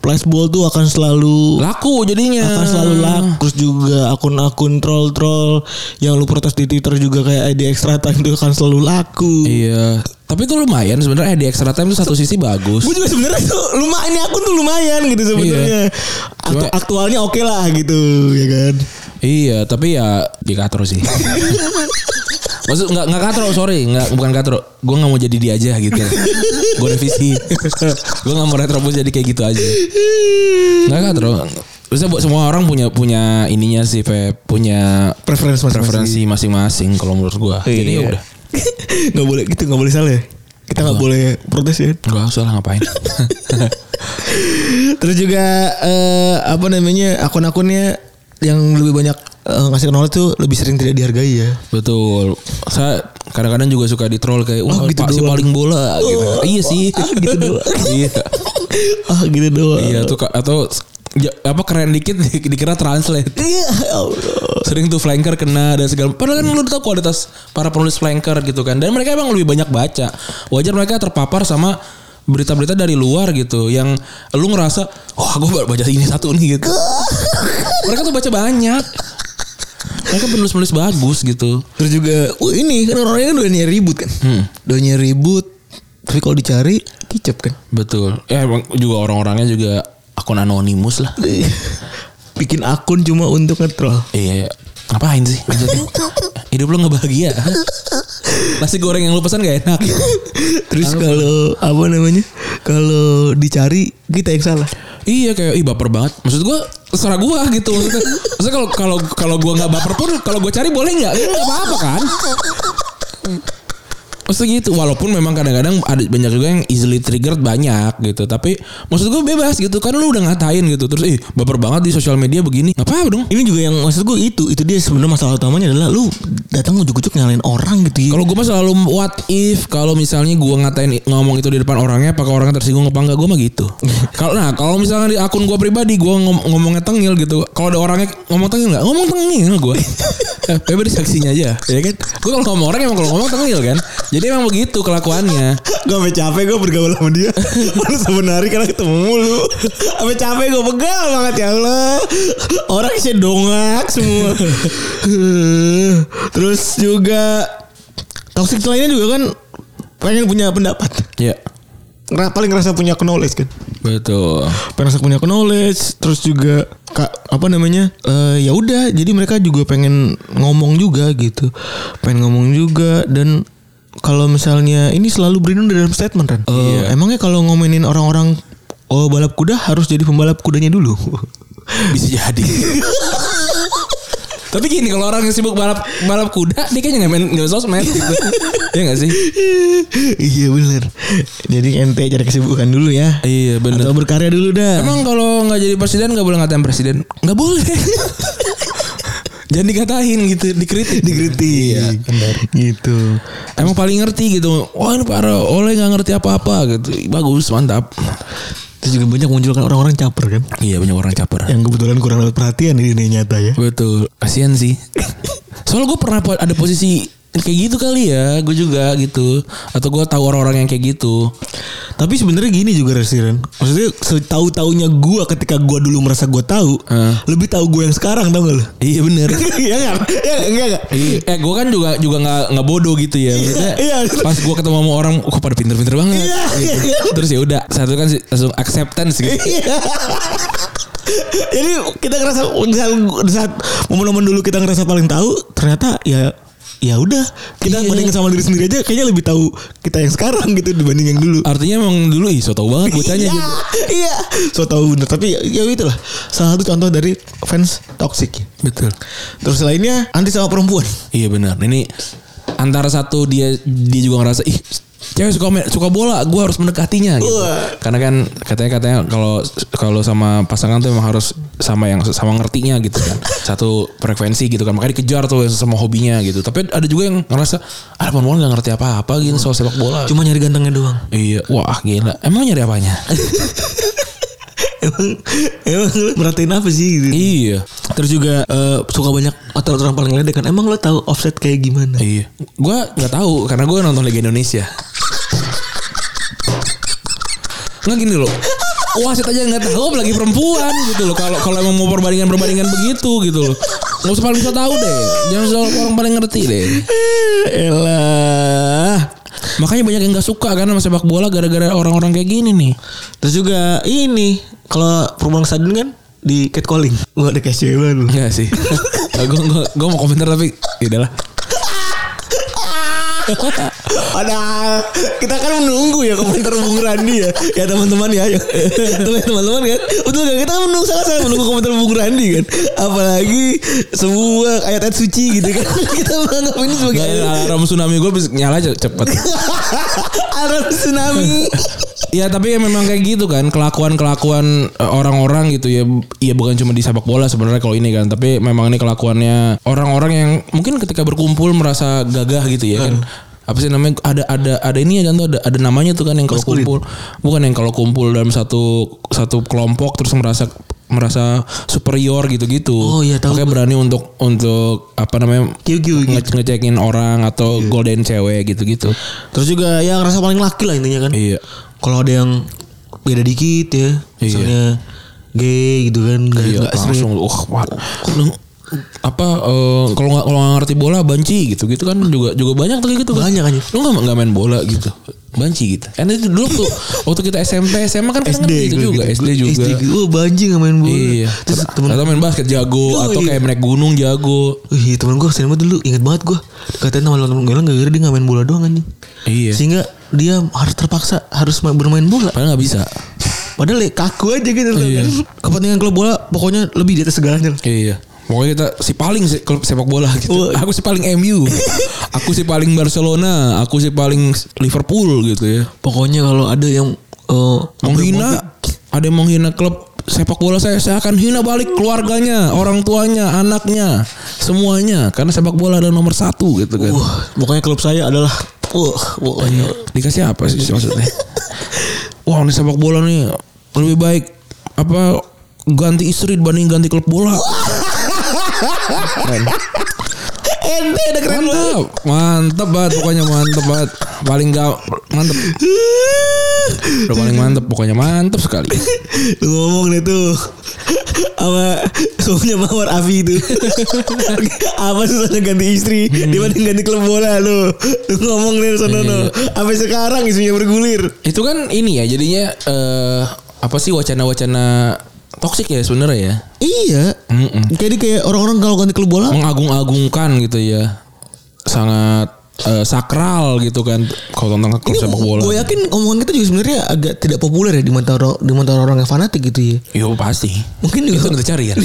Speaker 4: flashball tuh akan selalu
Speaker 3: Laku jadinya.
Speaker 4: akan selalu laku terus juga akun-akun troll-troll yang lu protes di Twitter juga kayak ID extra time itu akan selalu laku.
Speaker 3: Iya. Tapi itu lumayan sebenarnya di extra time itu satu sisi bagus.
Speaker 4: Gue juga sebenarnya tuh lumayan ini akun tuh lumayan gitu sebenarnya. Aktu-
Speaker 3: Cuma-
Speaker 4: aktualnya oke lah gitu ya kan.
Speaker 3: Iya, tapi ya di katro sih. Maksud nggak nggak katro, sorry, nggak bukan katro. Gue nggak mau jadi dia aja gitu. Gue revisi. Gue nggak mau retrobus jadi kayak gitu aja. Nggak katro. Terusnya buat semua orang punya punya ininya sih, Pep. punya
Speaker 4: Preferensi masing-masing. Iya.
Speaker 3: preferensi masing-masing kalau menurut gue. Jadi ya udah.
Speaker 4: nggak boleh gitu nggak boleh salah ya kita nggak boleh protes ya
Speaker 3: Gak usah lah
Speaker 4: *laughs*
Speaker 3: ngapain.
Speaker 4: terus juga eh, apa namanya akun-akunnya yang lebih banyak eh, ngasih knowledge tuh lebih sering tidak dihargai ya
Speaker 3: Betul. Saya kadang-kadang juga suka di troll kayak wah
Speaker 4: Oh, gitu
Speaker 3: Pak, si
Speaker 4: doang. Oh,
Speaker 3: paling bola gitu. iya sih. gitu *laughs* iya.
Speaker 4: *laughs* ah gitu doang
Speaker 3: Iya tuh Kak. atau ya, apa keren dikit *laughs* di- dikira translate.
Speaker 4: Iya, ya Allah.
Speaker 3: Sering tuh flanker kena dan segala. Padahal kan lu tahu kualitas para penulis flanker gitu kan. Dan mereka emang lebih banyak baca. Wajar mereka terpapar sama berita-berita dari luar gitu yang lu ngerasa wah gue baru baca ini satu nih gitu mereka tuh baca banyak mereka penulis-penulis bagus gitu
Speaker 4: terus juga oh ini kan orangnya kan udah nyari ribut kan udah nyari ribut tapi kalau dicari kicep kan
Speaker 3: Betul. Ya emang juga orang-orangnya juga akun anonimus lah.
Speaker 4: Iya. *laughs* bikin akun cuma untuk ngetrol
Speaker 3: Iya. Ngapain sih? maksudnya? Hidup lu nggak bahagia. Nasi goreng yang lu pesan gak enak. gitu.
Speaker 4: terus kalau apa namanya kalau dicari kita yang salah
Speaker 3: iya kayak ih baper banget. Maksud gua terserah gua gitu maksudnya. Maksudnya kalau kalau kalau gua nggak baper pun kalau gua cari boleh nggak? Enggak apa-apa kan? Maksudnya gitu Walaupun memang kadang-kadang Ada banyak juga yang Easily triggered banyak gitu Tapi Maksud gue bebas gitu Kan lu udah ngatain gitu Terus ih baper banget di sosial media begini Ngapain dong
Speaker 4: Ini juga yang maksud gue itu itu dia sebenarnya masalah utamanya adalah lu datang ujuk-ujuk nyalain orang gitu ya.
Speaker 3: Kalau gue mah selalu what if kalau misalnya gue ngatain ngomong itu di depan orangnya apakah orangnya tersinggung apa enggak gue mah *laughs* gitu. Kalau nah kalau misalnya di akun gue pribadi gue ngom- ngomongnya tengil gitu. Kalau ada orangnya ngomong tengil nggak ngomong tengil *laughs* gue. Eh, Bebe di saksinya aja, ya kan? Gue kalau ngomong orang emang kalau ngomong tengil kan. Jadi emang begitu kelakuannya.
Speaker 4: *laughs* Gue sampe capek gue bergaul sama dia. Mana sebenarnya karena ketemu lu. Apa capek gue pegal banget ya Allah. Orang sih dongak semua. *laughs* Terus juga toxic lainnya juga kan pengen punya pendapat.
Speaker 3: Ya.
Speaker 4: Ngera- Paling ngerasa punya knowledge kan.
Speaker 3: Betul.
Speaker 4: pengen punya knowledge terus juga kak apa namanya Eh ya udah jadi mereka juga pengen ngomong juga gitu pengen ngomong juga dan kalau misalnya ini selalu berlindung dari dalam statement kan
Speaker 3: Iya.
Speaker 4: emangnya kalau ngomenin orang-orang oh balap kuda harus jadi pembalap kudanya dulu *laughs*
Speaker 3: Bisa *laughs* jadi. Tapi gini kalau orang yang sibuk balap balap kuda dia kayaknya nggak main nggak sosmed *laughs* gitu. Iya nggak sih?
Speaker 4: iya bener jadi ente cari kesibukan dulu ya
Speaker 3: Iya bener.
Speaker 4: atau berkarya dulu dah
Speaker 3: Emang kalau nggak jadi presiden nggak boleh ngatain presiden? Nggak boleh. *laughs* Jangan dikatain gitu, dikritik.
Speaker 4: dikritik
Speaker 3: Iya, benar.
Speaker 4: gitu
Speaker 3: Emang paling ngerti gitu. Wah ini para oleh nggak ngerti apa-apa gitu. Bagus, mantap.
Speaker 4: terus juga banyak munculkan orang-orang caper kan
Speaker 3: Iya banyak orang caper.
Speaker 4: yang kebetulan kurang dapat perhatian di dunia nyata ya
Speaker 3: Betul, kasihan sih. Soalnya gue pernah po- ada posisi kayak gitu kali ya, gue juga gitu. Atau gue tahu orang-orang yang kayak gitu.
Speaker 4: Tapi sebenarnya gini juga Resiren. Maksudnya setahu taunya gua ketika gua dulu merasa gua tahu,
Speaker 3: Heeh.
Speaker 4: lebih tahu gua yang sekarang tau gak lu?
Speaker 3: Iya bener.
Speaker 4: *laughs* Iya kan? Iya enggak enggak.
Speaker 3: Iya. Eh gue kan juga juga nggak nggak bodoh gitu ya. Maksudnya,
Speaker 4: iya.
Speaker 3: Pas gue ketemu sama orang, kok pada pinter-pinter banget.
Speaker 4: Iya,
Speaker 3: gitu.
Speaker 4: iya.
Speaker 3: Terus ya udah, satu kan sih, langsung acceptance gitu.
Speaker 4: Iya. Jadi kita ngerasa di saat, di saat momen-momen dulu kita ngerasa paling tahu, ternyata ya ya udah kita
Speaker 3: Iya.
Speaker 4: bandingin sama diri sendiri aja kayaknya lebih tahu kita yang sekarang gitu dibanding yang dulu.
Speaker 3: Artinya emang dulu ih so tau banget bocahnya
Speaker 4: Iya,
Speaker 3: gitu.
Speaker 4: Iya. So tahu bener tapi ya, ya itulah salah satu contoh dari fans toxic.
Speaker 3: Betul.
Speaker 4: Terus lainnya anti sama perempuan.
Speaker 3: Iya benar. Ini antara satu dia dia juga ngerasa ih cewek suka main- suka bola, gue harus mendekatinya gitu.
Speaker 4: Wah.
Speaker 3: Karena kan katanya katanya kalau kalau sama pasangan tuh emang harus sama yang sama ngertinya gitu kan. Satu frekuensi gitu kan. Makanya dikejar tuh sama hobinya gitu. Tapi ada juga yang ngerasa ah perempuan gak ngerti apa-apa gitu soal sepak bola.
Speaker 4: Cuma nyari gantengnya doang.
Speaker 3: Iya, wah gila. Emang nyari
Speaker 4: *laughs*
Speaker 3: apanya?
Speaker 4: emang emang lu merhatiin apa sih gitu.
Speaker 3: iya.
Speaker 4: Terus juga eh, suka banyak otot-otot paling ledek kan. Emang lo tahu offset kayak gimana?
Speaker 3: Iya. Gua nggak tahu karena gua nonton Liga Indonesia. Nggak gini loh. Wasit aja nggak tahu apalagi perempuan gitu loh. Kalau kalau emang mau perbandingan-perbandingan begitu gitu loh. Nggak usah paling so tahu deh. Jangan soal orang paling ngerti deh.
Speaker 4: Eh, Elah.
Speaker 3: Makanya banyak yang nggak suka kan sama sepak bola gara-gara orang-orang kayak gini nih.
Speaker 4: Terus juga ini kalau perempuan sadun kan di catcalling. Iya. Gua ada kayak cewek lu.
Speaker 3: Enggak sih. gue gua, gua mau komentar tapi ya udahlah.
Speaker 4: Padahal kita kan menunggu ya komentar Bung Randi ya. Ya teman-teman ya. ayo. Betul ya teman-teman kan. Betul kan kita kan menunggu sama-sama menunggu komentar Bung Randi kan. Apalagi semua ayat-ayat suci gitu kan. *laughs* Kita menganggap ini sebagai
Speaker 3: Nggak, ya, Alarm tsunami gue nyala aja cepet.
Speaker 4: *laughs* alarm tsunami.
Speaker 3: Ya tapi ya memang kayak gitu kan kelakuan-kelakuan eh, orang-orang gitu ya. Iya bukan cuma di sepak bola sebenarnya kalau ini kan, tapi memang ini kelakuannya orang-orang yang mungkin ketika berkumpul merasa gagah gitu ya kan.
Speaker 4: Hmm.
Speaker 3: Apa sih namanya ada ada ada ini ya contoh ada ada namanya tuh kan yang kalau
Speaker 4: Maskulin.
Speaker 3: kumpul bukan yang kalau kumpul dalam satu satu kelompok terus merasa merasa superior gitu-gitu.
Speaker 4: Oh, iya, tahu
Speaker 3: Makanya berani untuk untuk apa namanya
Speaker 4: Kiu-kiu gitu.
Speaker 3: nge- ngecekin orang atau
Speaker 4: Iya.
Speaker 3: golden cewek gitu-gitu.
Speaker 4: Terus juga ya ngerasa paling laki lah intinya kan.
Speaker 3: Iya.
Speaker 4: Kalau ada yang beda dikit ya, misalnya gay gitu kan, nggak
Speaker 3: Iya,
Speaker 4: nggak sering.
Speaker 3: langsung wah wah, kok lu- apa eh, kalau nggak kalau nggak ngerti bola banci gitu gitu kan juga juga banyak tuh kayak gitu kan.
Speaker 4: Banyak aja.
Speaker 3: lu nggak nggak main bola gitu banci gitu karena itu dulu tuh waktu kita SMP SMA kan kita kan
Speaker 4: SD
Speaker 3: gitu
Speaker 4: gue
Speaker 3: juga
Speaker 4: gitu.
Speaker 3: SD juga
Speaker 4: SD gitu. Oh banjir nggak main bola.
Speaker 3: iya
Speaker 4: Terus
Speaker 3: Atau-
Speaker 4: temen
Speaker 3: atau main basket jago
Speaker 4: Oh,
Speaker 3: atau
Speaker 4: iya.
Speaker 3: kayak naik gunung jago
Speaker 4: Wih temen gue sering banget dulu Ingat banget gue Dikatain sama temen gue Gak gara dia gak main bola doang anjing
Speaker 3: Iya.
Speaker 4: Sehingga dia harus terpaksa Harus ma- bermain bola
Speaker 3: padahal nggak bisa
Speaker 4: Padahal ya kaku aja gitu loh
Speaker 3: Iya.
Speaker 4: Kepentingan klub bola Pokoknya lebih di atas segalanya lah.
Speaker 3: iya Pokoknya kita si paling se- klub sepak bola gitu.
Speaker 4: Wah.
Speaker 3: Aku si paling MU. aku si paling Barcelona. Aku si paling Liverpool gitu ya.
Speaker 4: Pokoknya kalau ada yang eh,
Speaker 3: menghina ada yang menghina klub sepak bola saya saya akan hina balik keluarganya orang tuanya anaknya semuanya karena sepak bola adalah nomor satu gitu kan
Speaker 4: Wah uh, Pokoknya klub saya adalah Wah pokoknya
Speaker 3: dikasih apa sih maksudnya wah ini sepak bola nih lebih baik apa ganti istri dibanding ganti klub bola
Speaker 4: Eh, Ente ada keren banget
Speaker 3: mantap mantap, mantap banget pokoknya mantap banget. Paling gak mantap. Udah paling mantap pokoknya mantap sekali.
Speaker 4: Lu ngomong deh tuh sama suaminya Mawar Afi itu apa susahnya ganti istri dibanding ganti klub bola lu lu ngomong deh sonono sampai sekarang isunya bergulir
Speaker 3: Itu kan ini ya jadinya eh apa sih wacana-wacana toksik ya sebenarnya ya.
Speaker 4: iya jadi kayak orang-orang kalau ganti klub bola
Speaker 3: Mengagung-agungkan gitu ya. Sangat eh, sakral gitu kan kalau tentang klub
Speaker 4: ini
Speaker 3: sepak bola.
Speaker 4: gue yakin omongan kita juga sebenarnya agak tidak populer ya di mata orang di mata orang yang fanatik gitu ya
Speaker 3: Yo pasti.
Speaker 4: mungkin
Speaker 3: Itu
Speaker 4: juga
Speaker 3: yang kita cari *laughs* kan.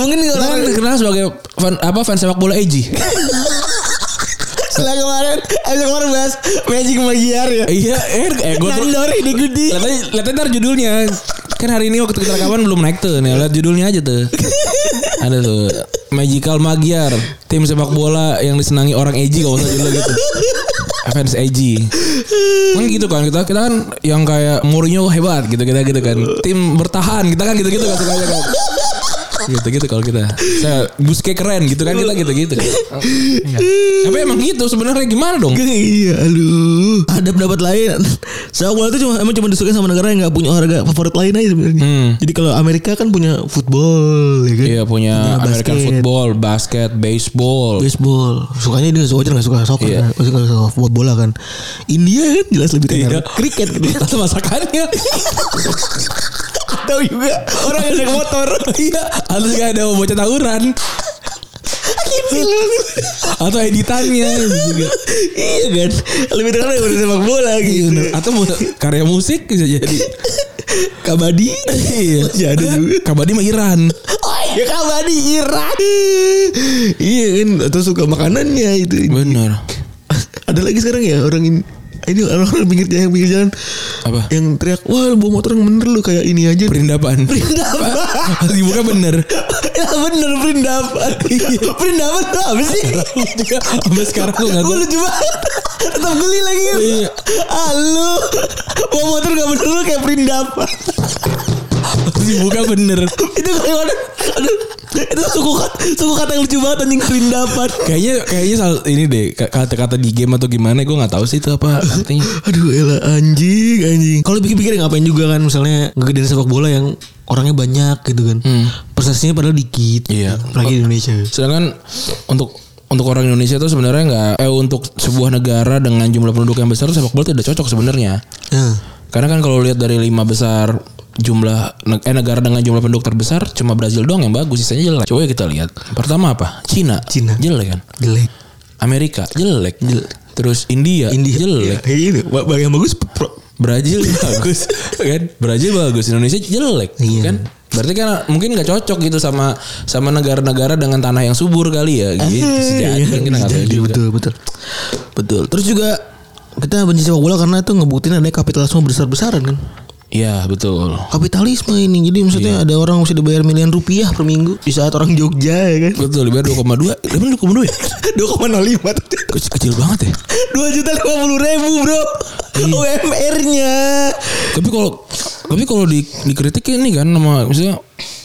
Speaker 4: mungkin juga
Speaker 3: Kita kan
Speaker 4: orang
Speaker 3: dikenal sebagai fan, apa fans sepak bola Eji.
Speaker 4: setelah kemarin eh kemarin bahas magic magiar ya
Speaker 3: Iya, eh, eh gue
Speaker 4: Nandor ini gudi
Speaker 3: Lihat lihat ntar judulnya. Kan hari ini waktu kita rekaman belum naik tuh. Nih, lihat judulnya aja tuh. Ada tuh Magical Magyar, tim sepak bola yang disenangi orang Eji kalau usah judulnya gitu. Fans Eji. Kan gitu kan kita kita kan yang kayak Mourinho hebat gitu kita gitu kan. Tim bertahan kita kan gitu-gitu kan sukanya kan. Gitu-gitu kalau kita. Saya Buske keren gitu kan kita gitu-gitu. Iya. Tapi emang gitu sebenarnya gimana dong?
Speaker 4: Iya lu Ada pendapat lain Sepak bola itu cuma, emang cuma disukai sama negara yang gak punya olahraga favorit lain aja sebenarnya
Speaker 3: Hmm.
Speaker 4: Jadi kalau Amerika kan punya football ya kan
Speaker 3: Iya punya
Speaker 4: Punya
Speaker 3: American
Speaker 4: basket.
Speaker 3: football, basket, baseball.
Speaker 4: Baseball Sukanya dia wajar gak suka soccer
Speaker 3: Iya. Iya.
Speaker 4: kan Pasti gak suka sepak bola kan India kan jelas lebih tenar Kriket gitu *laughs*
Speaker 3: Atau masakannya
Speaker 4: Atau juga orang yang naik motor
Speaker 3: Iya Atau juga ada bocah tawuran Atau editannya juga.
Speaker 4: Iya kan Lebih tenar daripada sepak bola gitu
Speaker 3: Iya, Atau mu- karya musik bisa jadi
Speaker 4: Kabadi
Speaker 3: Iya
Speaker 4: Masih ada juga
Speaker 3: Kabadi mah Iran
Speaker 4: Oh iya kabadi Iran Iya kan Atau suka makanannya itu
Speaker 3: Bener
Speaker 4: ada lagi sekarang ya orang ini ini orang-orang pinggir jalan pinggir jalan
Speaker 3: Apa?
Speaker 4: yang teriak wah lu bawa motor yang bener lu kayak ini aja
Speaker 3: Perindapan
Speaker 4: perindapan
Speaker 3: Harus *laughs* dibuka bener
Speaker 4: ya bener perindapan perindapan tuh apa sih
Speaker 3: Juga Sampai sekarang gue gak
Speaker 4: gue
Speaker 3: tau
Speaker 4: lucu banget tetap geli lagi
Speaker 3: Iya.
Speaker 4: ah lu bawa motor gak bener lu kayak perindapan
Speaker 3: Harus dibuka bener
Speaker 4: itu kayak mana aduh, itu suku kata suku kata yang lucu banget anjing perindapan
Speaker 3: Kayaknya kayaknya salah ini deh ka- kata-kata di game atau gimana gue nggak tahu sih itu apa artinya.
Speaker 4: Aduh elah anjing anjing. Kalau pikir-pikir ngapain juga kan misalnya ngegedein sepak bola yang orangnya banyak gitu kan. Prestasinya padahal dikit.
Speaker 3: Hmm.
Speaker 4: gitu.
Speaker 3: Iya.
Speaker 4: Apalagi di Indonesia.
Speaker 3: Sedangkan kan untuk untuk orang Indonesia itu sebenarnya nggak eh untuk sebuah negara dengan jumlah penduduk yang besar tuh sepak bola tidak cocok sebenarnya.
Speaker 4: Nah,
Speaker 3: Karena kan kalau lihat dari lima besar jumlah neg- eh negara dengan jumlah penduduk terbesar cuma Brazil doang yang bagus sisanya jelek. Coba kita lihat. Pertama apa? Cina.
Speaker 4: Cina.
Speaker 3: Jelek kan.
Speaker 4: jelek.
Speaker 3: Amerika jelek. Terus India,
Speaker 4: India
Speaker 3: jelek.
Speaker 4: Iya, ini ba- ba- yang bagus pro-
Speaker 3: Brazil
Speaker 4: *laughs*
Speaker 3: bagus kan Brazil bagus Indonesia jelek
Speaker 4: Iya.
Speaker 3: kan berarti kan mungkin nggak cocok gitu sama sama negara-negara dengan tanah yang subur kali ya gitu
Speaker 4: Eh,
Speaker 3: sejati
Speaker 4: iya,
Speaker 3: kita nggak gitu. tahu
Speaker 4: jadi,
Speaker 3: juga.
Speaker 4: betul betul. Betul. Terus juga kita benci sepak bola karena itu ngebuktiin ada kapitalisme besar-besaran kan.
Speaker 3: Iya betul
Speaker 4: Kapitalisme ini. Jadi maksudnya
Speaker 3: Iya.
Speaker 4: ada orang mesti dibayar miliar rupiah per minggu di saat orang Jogja ya kan.
Speaker 3: betul dibayar 2,2 emang
Speaker 4: *laughs*
Speaker 3: 2,2 ya
Speaker 4: 2,05
Speaker 3: kecil, kecil banget ya
Speaker 4: dua juta lima puluh ribu bro Iya. UMR-nya
Speaker 3: tapi kalau tapi kalau di, dikritik ini kan sama misalnya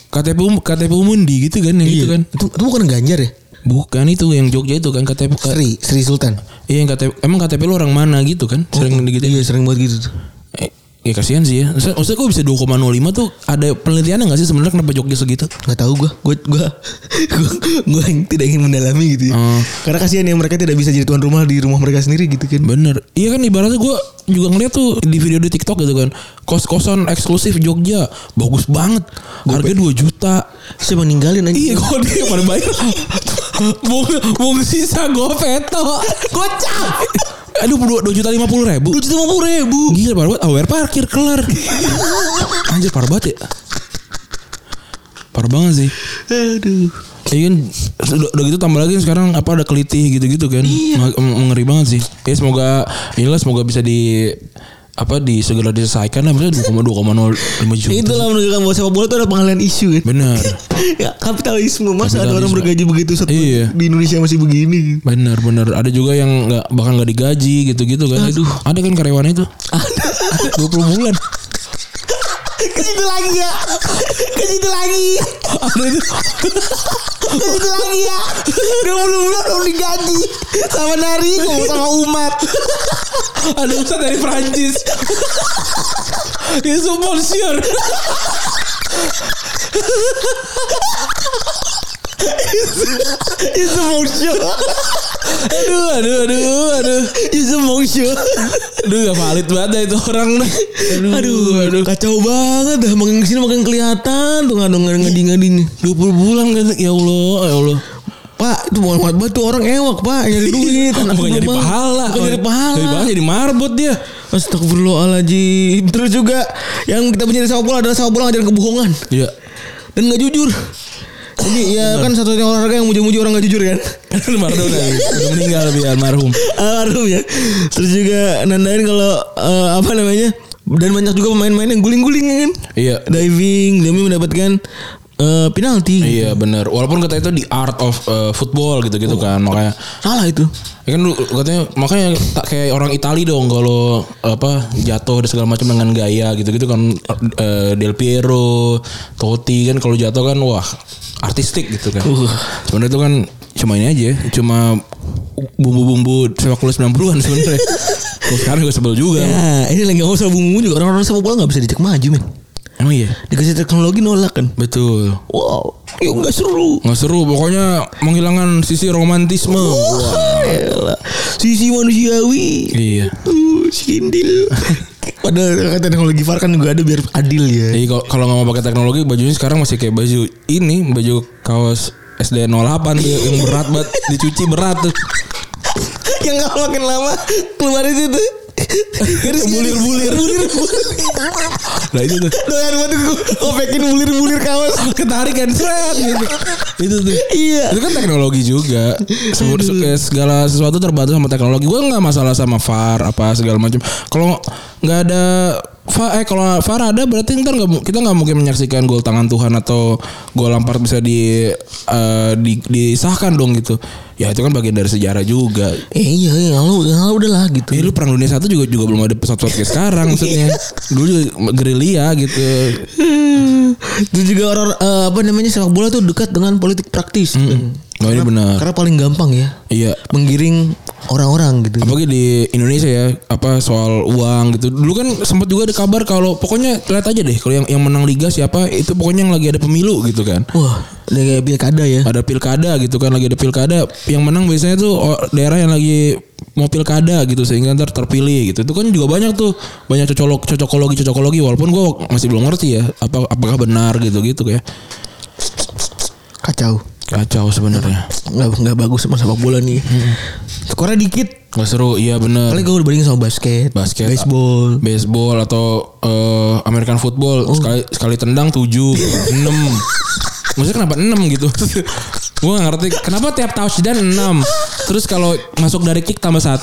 Speaker 3: KTP um, KTP Umundi gitu kan yang gitu kan
Speaker 4: Iya itu, itu bukan Ganjar ya
Speaker 3: bukan itu yang Jogja itu kan KTP Ka-
Speaker 4: Sri Sri Sultan
Speaker 3: iya yang KTP emang KTP lu orang mana gitu kan sering gitu
Speaker 4: iya sering buat gitu tuh
Speaker 3: Eh, ya kasihan sih ya. Maksudnya, maksudnya kok bisa 2,05 tuh ada penelitiannya gak sih sebenarnya kenapa Jogja segitu?
Speaker 4: nggak tahu gue gue gue gue yang tidak ingin mendalami gitu ya.
Speaker 3: Hmm.
Speaker 4: karena kasihan ya mereka tidak bisa jadi tuan rumah di rumah mereka sendiri gitu kan
Speaker 3: Bener. Iya kan ibaratnya gue juga ngeliat tuh di video di TikTok gitu kan. Kos-kosan eksklusif Jogja. Bagus banget. Harga 2 juta.
Speaker 4: siapa yang ninggalin anjing
Speaker 3: Iya kok dia pada bayar. Bung, bung sisa gue veto. Gocap. Aduh 2, juta 50 ribu. 2 juta 50 ribu. Gila parah banget. Aware parkir kelar. Anjir parah banget ya. Parah banget sih.
Speaker 4: aduh
Speaker 3: Iya kan udah, udah gitu tambah lagi sekarang apa ada kelitih gitu-gitu kan. Meng- Mengeri banget sih. Ya semoga inilah semoga bisa di apa di segera diselesaikan lah maksudnya 2,2,05 juta.
Speaker 4: itulah menunjukkan bahwa sepak bola itu ada pengalian isu kan
Speaker 3: Benar.
Speaker 4: ya kapitalisme masa ada orang
Speaker 3: Kapitalisme.
Speaker 4: bergaji begitu satu
Speaker 3: Iya.
Speaker 4: di Indonesia masih begini *laughs*
Speaker 3: Benar, benar. Ada juga yang nggak bahkan nggak digaji gitu-gitu kan. Aduh. Ada kan karyawan itu. Ada 20 bulan.
Speaker 4: Ke situ lagi ya. Ke situ lagi. Ke situ lagi ya. Udah belum belum digaji sama nari ngomong sama umat.
Speaker 3: Ada ustadz dari Prancis. Itu monsieur.
Speaker 4: It's a monster.
Speaker 3: Aduh, aduh, aduh, aduh.
Speaker 4: It's a monster.
Speaker 3: Aduh, gak valid banget dah itu orang. dah. *laughs* Aduh,
Speaker 4: Aduh, aduh, kacau banget dah makin kesini makin kelihatan tuh ngadong ngadong ngading ngading
Speaker 3: 20 bulan kan ya Allah, ya Allah.
Speaker 4: Pak, itu bukan banget tuh orang ewak pak nyari duit. anak
Speaker 3: *laughs* Bukan jadi
Speaker 4: abang.
Speaker 3: pahala.
Speaker 4: Bukan jadi pahala.
Speaker 3: Jadi pahala jadi marbot dia.
Speaker 4: Astagfirullahaladzim Terus juga Yang kita punya dari sepak bola adalah sepak bola ngajarin kebohongan
Speaker 3: Iya. *laughs*
Speaker 4: Dan gak jujur Jadi ya kan satu-satunya olahraga yang muji-muji orang gak jujur kan
Speaker 3: Maradona
Speaker 4: *laughs*
Speaker 3: udah meninggal tapi almarhum.
Speaker 4: Almarhum ya Terus juga nandain kalau eh, Apa namanya Dan banyak juga pemain-pemain yang guling-guling ya kan
Speaker 3: Iya.
Speaker 4: Diving Demi mendapatkan eh, penalti
Speaker 3: Iya benar. Walaupun kata itu di art of eh, football gitu-gitu kan makanya
Speaker 4: Salah itu
Speaker 3: Ya kan lu katanya makanya tak kayak orang Itali dong kalau apa jatuh dan segala macam dengan gaya gitu-gitu kan eh, Del Piero, Totti kan kalau jatuh kan wah artistik gitu kan. Sebenarnya itu kan cuma ini aja, cuma bumbu-bumbu sepak bola 90-an *laughs* sebenarnya. Kalau sekarang gue sebel juga.
Speaker 4: Nah ini lagi ngomong sama bumbu juga Orang-orang sepak bola gak bisa dicek maju men
Speaker 3: Emang iya.
Speaker 4: Dikasih teknologi nolak kan
Speaker 3: Betul.
Speaker 4: Wow Ya gak seru
Speaker 3: Nggak seru, pokoknya menghilangkan sisi romantisme.
Speaker 4: Wah, elah. Sisi manusiawi
Speaker 3: Iya.
Speaker 4: Uh, sindil. Padahal kata teknologi VAR kan juga ada biar adil ya.
Speaker 3: Jadi kalau- kalau nggak mau pakai teknologi bajunya sekarang masih kayak baju ini, baju kaos SD 08 tuh yang berat banget dicuci berat tuh.
Speaker 4: Yang nggak makin lama keluar itu tuh.
Speaker 3: Bulir, bulir.
Speaker 4: bulir, bulir.
Speaker 3: Nah itu tuh.
Speaker 4: Doyan banget gue opekin bulir-bulir kaos.
Speaker 3: Ketarik kan seret gitu. Itu tuh.
Speaker 4: Iya.
Speaker 3: Itu kan teknologi juga. Semua kayak segala sesuatu terbantu sama teknologi. Gue nggak masalah sama VAR apa segala macam. Kalau nggak ada VAR, eh kalau VAR ada berarti ntar nggak mu- kita nggak mungkin menyaksikan gol tangan Tuhan atau gol Lampard bisa di, eh, di- disahkan dong gitu. Ya itu kan bagian dari sejarah juga.
Speaker 4: Eh iya, iya lu lu udah lah gitu.
Speaker 3: Ya lu perang dunia satu juga juga belum ada pesawat-pesawat kayak sekarang maksudnya. Dulu juga gerilya gitu. Hmm.
Speaker 4: Itu juga orang eh, apa namanya sepak bola tuh dekat dengan politik praktis.
Speaker 3: Oh ini benar.
Speaker 4: Karena paling gampang ya
Speaker 3: Iya.
Speaker 4: menggiring orang-orang gitu.
Speaker 3: Apalagi di Indonesia ya apa soal uang gitu. Dulu kan sempat juga ada kabar kalau pokoknya lihat aja deh kalau yang yang menang liga siapa itu pokoknya yang lagi ada pemilu gitu kan.
Speaker 4: Wah, udah kayak pilkada ya.
Speaker 3: Ada pilkada gitu kan lagi ada pilkada yang menang biasanya tuh o- daerah yang lagi mau pilkada gitu sehingga ntar terpilih gitu. Itu kan juga banyak tuh banyak cocolog cocokologi cocokologi walaupun gua masih belum ngerti ya apa apakah benar gitu gitu kayak
Speaker 4: Kacau.
Speaker 3: kacau sebenarnya.
Speaker 4: Nggak, nggak bagus sama sepak bola nih.
Speaker 3: Hmm.
Speaker 4: Skornya dikit,
Speaker 3: Gak seru, iya bener.
Speaker 4: Paling gue udah bandingin sama basket,
Speaker 3: basket, ah.
Speaker 4: baseball.
Speaker 3: baseball atau eh, American football
Speaker 4: Oh.
Speaker 3: sekali sekali tendang 7, 6. Maksudnya kenapa 6 gitu? *laughs* gue gak ngerti kenapa tiap touchdown 6. Terus kalau masuk dari kick tambah 1,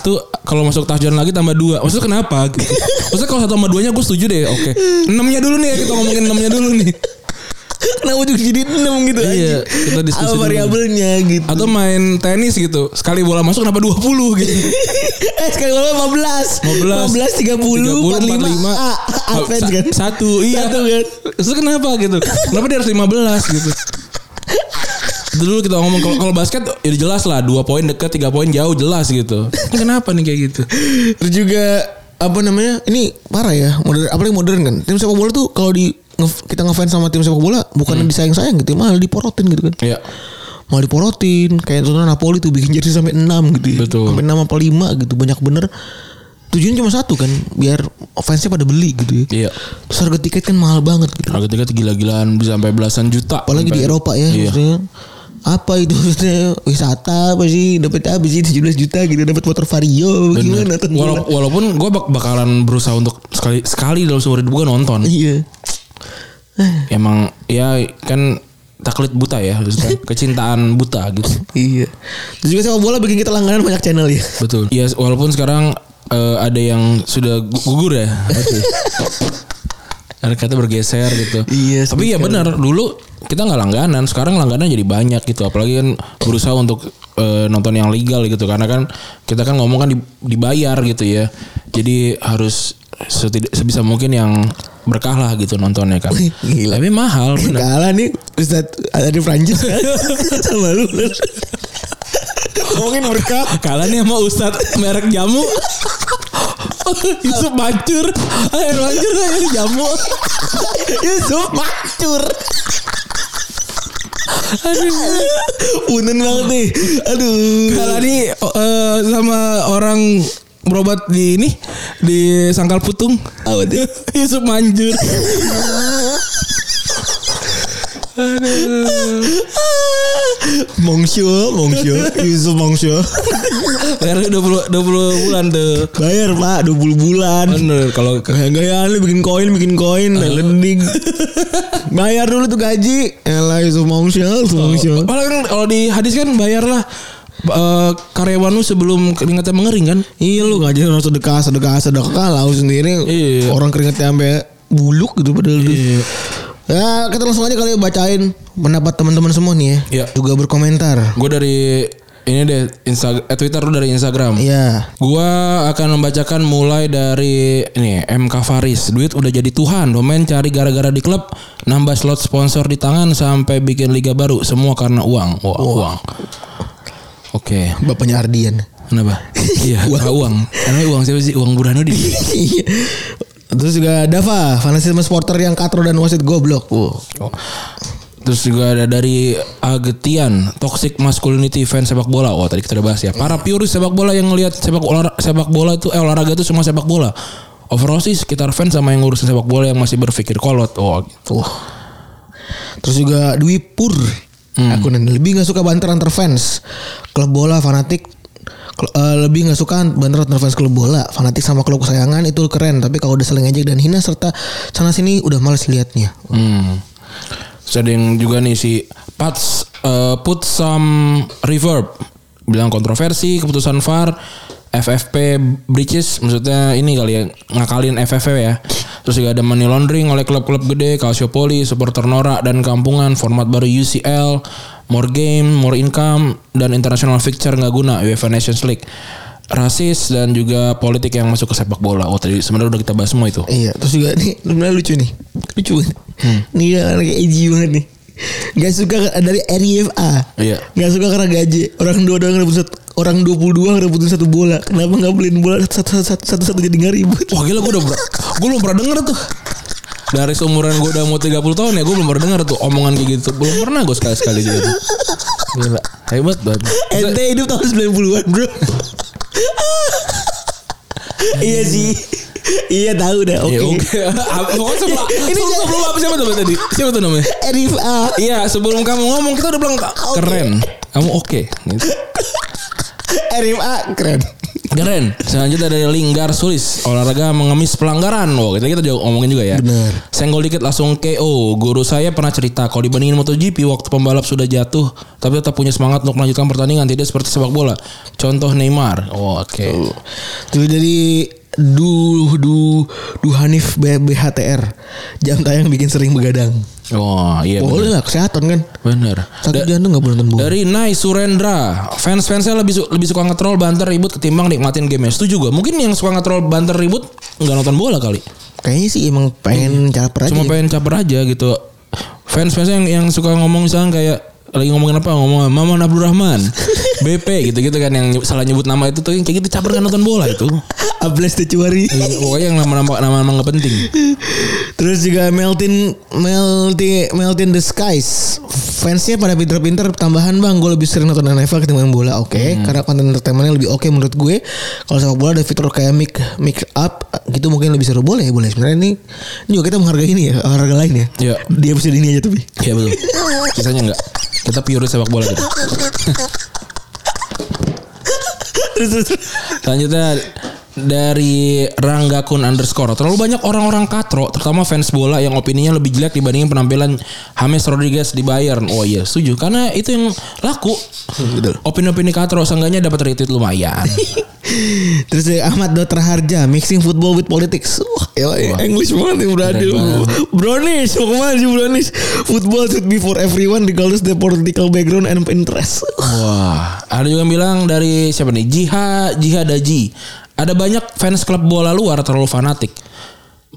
Speaker 3: kalau masuk touchdown lagi tambah 2. Maksudnya kenapa gitu? Maksudnya kalau satu sama 2-nya gue setuju deh. Oke. 6-nya dulu nih kita ngomongin 6-nya dulu nih.
Speaker 4: Kenapa juga jadi 6 gitu
Speaker 3: Iya,
Speaker 4: anjing?
Speaker 3: kita diskusi
Speaker 4: Apa
Speaker 3: dulu.
Speaker 4: variabelnya gitu.
Speaker 3: Atau main tenis gitu. Sekali bola masuk kenapa 20 gitu.
Speaker 4: *laughs* eh sekali bola 15. 15 30 45. Ah, advance kan.
Speaker 3: Satu, iya.
Speaker 4: Satu kan.
Speaker 3: Terus kenapa gitu? Kenapa dia harus 15 gitu? Dulu kita ngomong kalau kalau basket ya jelas lah dua poin dekat tiga poin jauh jelas gitu. Kenapa nih kayak gitu?
Speaker 4: Terus juga apa namanya? Ini parah ya. Modern apalagi modern kan. Tim sepak bola tuh kalau di nge- kita ngefans sama tim sepak bola bukan
Speaker 3: Hmm.
Speaker 4: disayang-sayang gitu, malah diporotin gitu kan.
Speaker 3: Ya
Speaker 4: Malah diporotin kayak contohnya Napoli tuh bikin jersey sampai 6 gitu. ya.
Speaker 3: Betul.
Speaker 4: Sampai 6 apa 5 gitu, banyak bener. Tujuannya cuma satu kan, biar fansnya pada beli gitu ya.
Speaker 3: Iya.
Speaker 4: Terus harga tiket kan mahal banget gitu.
Speaker 3: harga tiket gila-gilaan bisa sampai belasan juta.
Speaker 4: apalagi di
Speaker 3: Sampai-
Speaker 4: Eropa ya
Speaker 3: Iya.
Speaker 4: maksudnya apa itu maksudnya wisata apa sih dapat apa sih 17 juta gitu dapat motor vario
Speaker 3: Bener.
Speaker 4: gimana tentu
Speaker 3: Wala- walaupun gue bakalan berusaha untuk sekali sekali dalam seumur hidup gue nonton.
Speaker 4: iya
Speaker 3: Emang ya kan taklid buta
Speaker 4: *laughs*
Speaker 3: ya, maksudnya kecintaan buta gitu.
Speaker 4: iya terus juga sepak bola bikin kita langganan banyak channel ya
Speaker 3: Betul. Iya, walaupun sekarang eh, ada yang sudah gu- gugur ya.
Speaker 4: *laughs*
Speaker 3: Ada kata bergeser gitu.
Speaker 4: Iya,
Speaker 3: Tapi ya benar, dulu kita nggak langganan, sekarang langganan jadi banyak gitu. Apalagi kan berusaha untuk eh, nonton yang legal gitu karena kan kita kan ngomong kan di- dibayar gitu ya. Jadi harus setidak sebisa mungkin yang berkah lah gitu nontonnya kan.
Speaker 4: Wih, gila.
Speaker 3: Tapi mahal bener.
Speaker 4: Kalah nih Ustadz ada di
Speaker 3: *laughs*
Speaker 4: Prancis sama lu. Ngomongin berkah.
Speaker 3: Kalah nih sama Ustadz merek jamu. Yusuf Mancur. Air Mancur air jamu.
Speaker 4: Yusuf Mancur. Aduh. Unen banget nih. Aduh.
Speaker 3: Kalah nih eh, sama orang berobat di ini di Sangkal Putung.
Speaker 4: Apa tuh?
Speaker 3: *laughs* Yusuf Mancur.
Speaker 4: Mongsio, Mongsio, Yusuf Mongsio.
Speaker 3: Bayarnya 20 20 bulan tuh.
Speaker 4: Bayar pak 20 bulan.
Speaker 3: Bener kalau
Speaker 4: Gaya-gayaan lu bikin koin, bikin koin, lending. Bayar dulu tuh gaji. Elah Yusuf Mongsio, Yusuf Mongsio.
Speaker 3: Malah kan kalau di hadis kan bayarlah eh, karyawan lu sebelum keringatnya mengering kan.
Speaker 4: Iya lu gak jadi orang sedekah sedekah sedekah lau sendiri
Speaker 3: Iya.
Speaker 4: orang keringetnya sampai buluk gitu padahal tuh. Ya kita langsung aja kali ya bacain pendapat teman-teman semua nih ya.
Speaker 3: Iya.
Speaker 4: Juga berkomentar.
Speaker 3: Gue dari ini deh Instagram eh, Twitter lu dari Instagram.
Speaker 4: Iya.
Speaker 3: Gua akan membacakan mulai dari ini MK Faris. Duit udah jadi Tuhan. Domain cari gara-gara di klub, nambah slot sponsor di tangan sampai bikin liga baru. Semua karena uang. Wah, uang. Oke.
Speaker 4: Bapaknya Ardian. *laughs*
Speaker 3: *laughs* Kenapa? iya, uang. uang. Karena uang siapa sih? Uang Burhanuddin. *laughs*
Speaker 4: Iya. Terus juga Dava, fanatisme supporter yang katro dan wasit goblok.
Speaker 3: Oh. Terus juga ada dari Agetian, toxic masculinity fans sepak bola. Wah, tadi kita udah bahas ya. Para purist sepak bola yang ngelihat sepak olah, sepak bola itu eh, olahraga itu semua sepak bola. Overall sih sekitar fans sama yang ngurusin sepak bola yang masih berpikir kolot. Oh,
Speaker 4: Wah. Terus juga Dwi Pur. Akun yang lebih gak suka banter antar fans. Klub bola fanatik Kl- eh, lebih nggak suka banter antar fans klub bola fanatik sama klub kesayangan itu keren tapi kalau udah saling ejek dan hina serta sana sini udah males liatnya
Speaker 3: Hmm. Terus ada yang juga nih si Pats eh, put some reverb bilang kontroversi keputusan VAR FFP breaches maksudnya ini kali ya ngakalin FFP ya. Terus juga ada money laundering oleh klub-klub gede Calciopoli, supporter Norak dan kampungan format baru UCL, more game, more income dan international fixture nggak guna UEFA Nations League. Rasis dan juga politik yang masuk ke sepak bola. Oh tadi sebenarnya udah kita bahas semua itu.
Speaker 4: iya terus juga nih sebenarnya lucu nih lucu banget nih orang kayak edgy banget nih Gak suka dari RIFA
Speaker 3: Iya.
Speaker 4: Gak suka karena gaji Orang dua orang ngerebutin satu Orang 22 ngerebutin satu bola Kenapa gak beliin bola satu-satu satu-satu jadi gak ribut
Speaker 3: Wah gila gue udah ber- Gue belum pernah denger tuh Dari seumuran gue udah mau 30 tahun ya Gue belum pernah denger tuh Omongan kayak gitu Belum pernah gue sekali-sekali juga tuh Gila Hebat banget
Speaker 4: Ente hidup tahun 90-an bro Iya sih Iya tahu dah oke
Speaker 3: Ya oke *laughs* Apa- Pokoknya sebelum Ini sebelum apa siapa tuh tadi Siapa tuh namanya
Speaker 4: RIFA
Speaker 3: Iya sebelum kamu ngomong Kita udah bilang Keren Kamu oke Gitu.
Speaker 4: RIFA keren
Speaker 3: Keren Selanjutnya dari Linggar Sulis Olahraga mengemis pelanggaran Wah kita, kita juga ngomongin juga ya
Speaker 4: Bener.
Speaker 3: Senggol dikit langsung KO Guru saya pernah cerita Kalau dibandingin MotoGP Waktu pembalap sudah jatuh Tapi tetap punya semangat Untuk melanjutkan pertandingan Tidak seperti sepak bola Contoh Neymar oh, Oke
Speaker 4: Tuh dari Du Du Du Hanif B- BHTR Jam tayang bikin sering begadang
Speaker 3: Wah iya
Speaker 4: Boleh lah kesehatan kan
Speaker 3: Bener,
Speaker 4: Sakit
Speaker 3: Da-
Speaker 4: jantung gak boleh nonton bola
Speaker 3: dari Nai Surendra Fans-fansnya lebih, su- lebih suka nge-troll banter ribut Ketimbang nikmatin game Setuju gue Mungkin yang suka nge-troll banter ribut Nggak nonton bola kali
Speaker 4: Kayaknya sih emang pengen caper aja
Speaker 3: Iya.
Speaker 4: ya.
Speaker 3: cuma pengen caper aja gitu fans fans yang yang suka ngomong misalnya kayak lagi ngomongin apa ngomong Maman Abdurrahman BP gitu gitu kan yang nyebut- salah nyebut nama itu tuh yang kayak gitu caper kan nonton bola itu
Speaker 4: Ables Tecuari
Speaker 3: Eh, pokoknya yang nama nama nama nama nggak penting
Speaker 4: Terus juga Meltin Meltin Meltin the Skies. Fansnya pada pinter-pinter tambahan bang. Gue lebih sering nonton NFL ketimbang bola. Oke, karena konten entertainmentnya lebih oke menurut gue. Kalau sepak bola ada fitur kayak mic mic up gitu mungkin lebih seru boleh boleh. Sebenarnya ini, ini juga kita menghargai ini ya olahraga lain ya.
Speaker 3: Iya.
Speaker 4: Di episode ini aja tapi.
Speaker 3: ya betul sisanya enggak kita pure sepak bola gitu
Speaker 4: Terus, terus.
Speaker 3: Selanjutnya dari Ranggakun underscore Terlalu banyak orang-orang katro Terutama fans bola yang opininya lebih jelek dibandingin penampilan James Rodriguez di Bayern Oh iya setuju Karena itu yang laku Opini-opini katro Seenggaknya dapat retweet lumayan
Speaker 4: Terus dari Ahmad Dotter Harja Mixing football with politics Wah elah, English banget nih berhasil Brownish Mau kemana sih Brownish Football should be for everyone Regardless the political background and interest
Speaker 3: Wah, ada juga yang bilang dari siapa nih? Jiha, Jiha Daji. Ada banyak fans klub bola luar terlalu fanatik.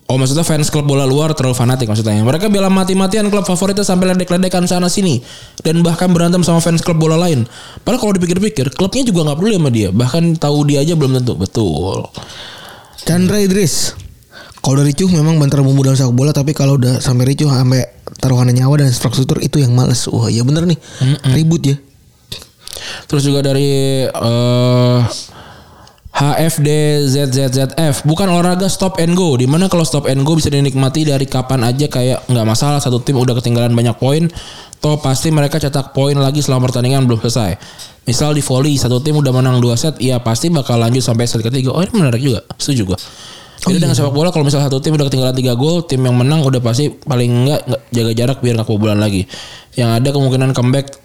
Speaker 3: Oh maksudnya fans klub bola luar terlalu fanatik maksudnya. Mereka bela mati-matian klub favoritnya sampai ledek-ledekan sana sini dan bahkan berantem sama fans klub bola lain. Padahal kalau dipikir-pikir klubnya juga nggak peduli sama dia. Bahkan tahu dia aja belum tentu betul.
Speaker 4: Chandra Idris kalau dari ricuh memang bantar bumbu dalam sepak bola tapi kalau udah sampai ricuh sampai taruhan nyawa dan infrastruktur itu yang males. Wah, ya bener nih. Ribut ya.
Speaker 3: Terus juga dari eh HFDZZZF bukan olahraga stop and go dimana kalau stop and go bisa dinikmati dari kapan aja kayak nggak masalah satu tim udah ketinggalan banyak poin toh pasti mereka cetak poin lagi selama pertandingan belum selesai misal di volley satu tim udah menang dua set ya pasti bakal lanjut sampai set ketiga oh ini menarik juga setuju gua jadi dengan sepak bola kalau misalnya satu tim udah ketinggalan tiga gol tim yang menang udah pasti paling enggak jaga jarak biar nggak kebobolan lagi yang ada kemungkinan comeback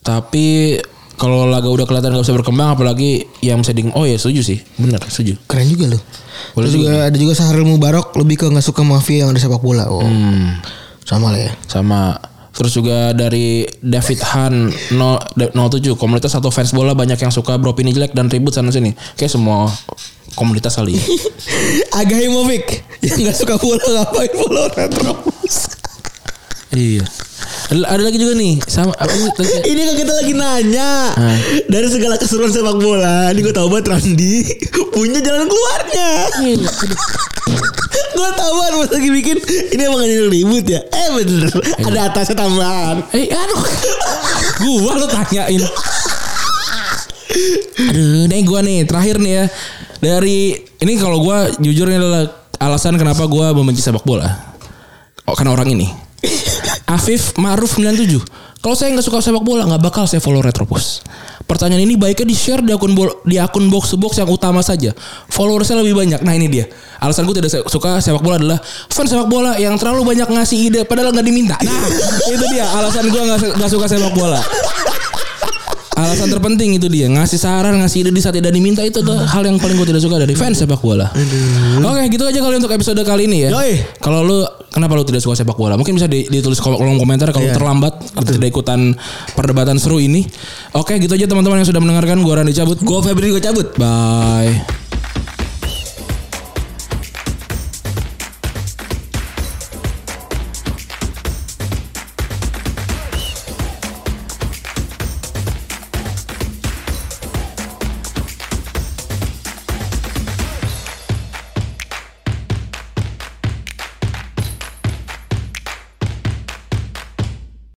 Speaker 3: tapi kalau laga udah kelihatan gak bisa berkembang apalagi yang bisa di oh ya setuju sih. Benar, setuju.
Speaker 4: Keren juga loh.
Speaker 3: Boleh
Speaker 4: Terus juga ada juga Sahrul Mubarok lebih ke nggak suka mafia yang ada sepak bola. Oh. Sama *laughs* lah ya.
Speaker 3: Sama terus juga dari David Han 0- 07 komunitas atau fans bola banyak yang suka beropini jelek dan ribut sana sini. Kayak semua komunitas kali. ya.
Speaker 4: Agahimovic yang nggak suka bola ngapain bola orang terus.
Speaker 3: *laughs* iya. Ada, ada lagi juga nih sama apa sih? Tadi-
Speaker 4: Ini kan kita lagi nanya dari segala keseruan sepak bola. Ini gue tahu banget Randi punya jalan keluarnya.
Speaker 3: *laughs*
Speaker 4: gue tahu banget pas lagi bikin ini emang hanya ribut ya. Eh bener ada atasnya tambahan.
Speaker 3: Eh aduh. gua lo tanyain. Aduh, ini gua nih terakhir nih ya. Dari ini kalau gua jujur ini adalah alasan kenapa gua membenci sepak bola. Oh, karena orang ini. Afif Maruf 97. Kalau saya nggak suka sepak bola nggak bakal saya follow Retropus. Pertanyaan ini baiknya di share di akun bol- di akun box to box yang utama saja. Follower saya lebih banyak. Nah ini dia. Alasan gue tidak se- suka sepak bola adalah fans sepak bola yang terlalu banyak ngasih ide padahal nggak diminta. Nah itu dia alasan gue nggak se- nggak suka sepak bola. Alasan terpenting itu dia ngasih saran, ngasih ide di saat tidak diminta itu tuh hal yang paling gue tidak suka dari fans sepak bola. Oke, gitu aja kali untuk episode kali ini ya.
Speaker 4: Yoi.
Speaker 3: Kalau lu kenapa lu tidak suka sepak bola? Mungkin bisa di- ditulis ko- kolom komentar kalau
Speaker 4: Iya.
Speaker 3: terlambat atau tidak ikutan perdebatan seru ini. Oke, gitu aja teman-teman yang sudah mendengarkan gua Randi cabut.
Speaker 4: Gue Febri gue cabut.
Speaker 3: Bye.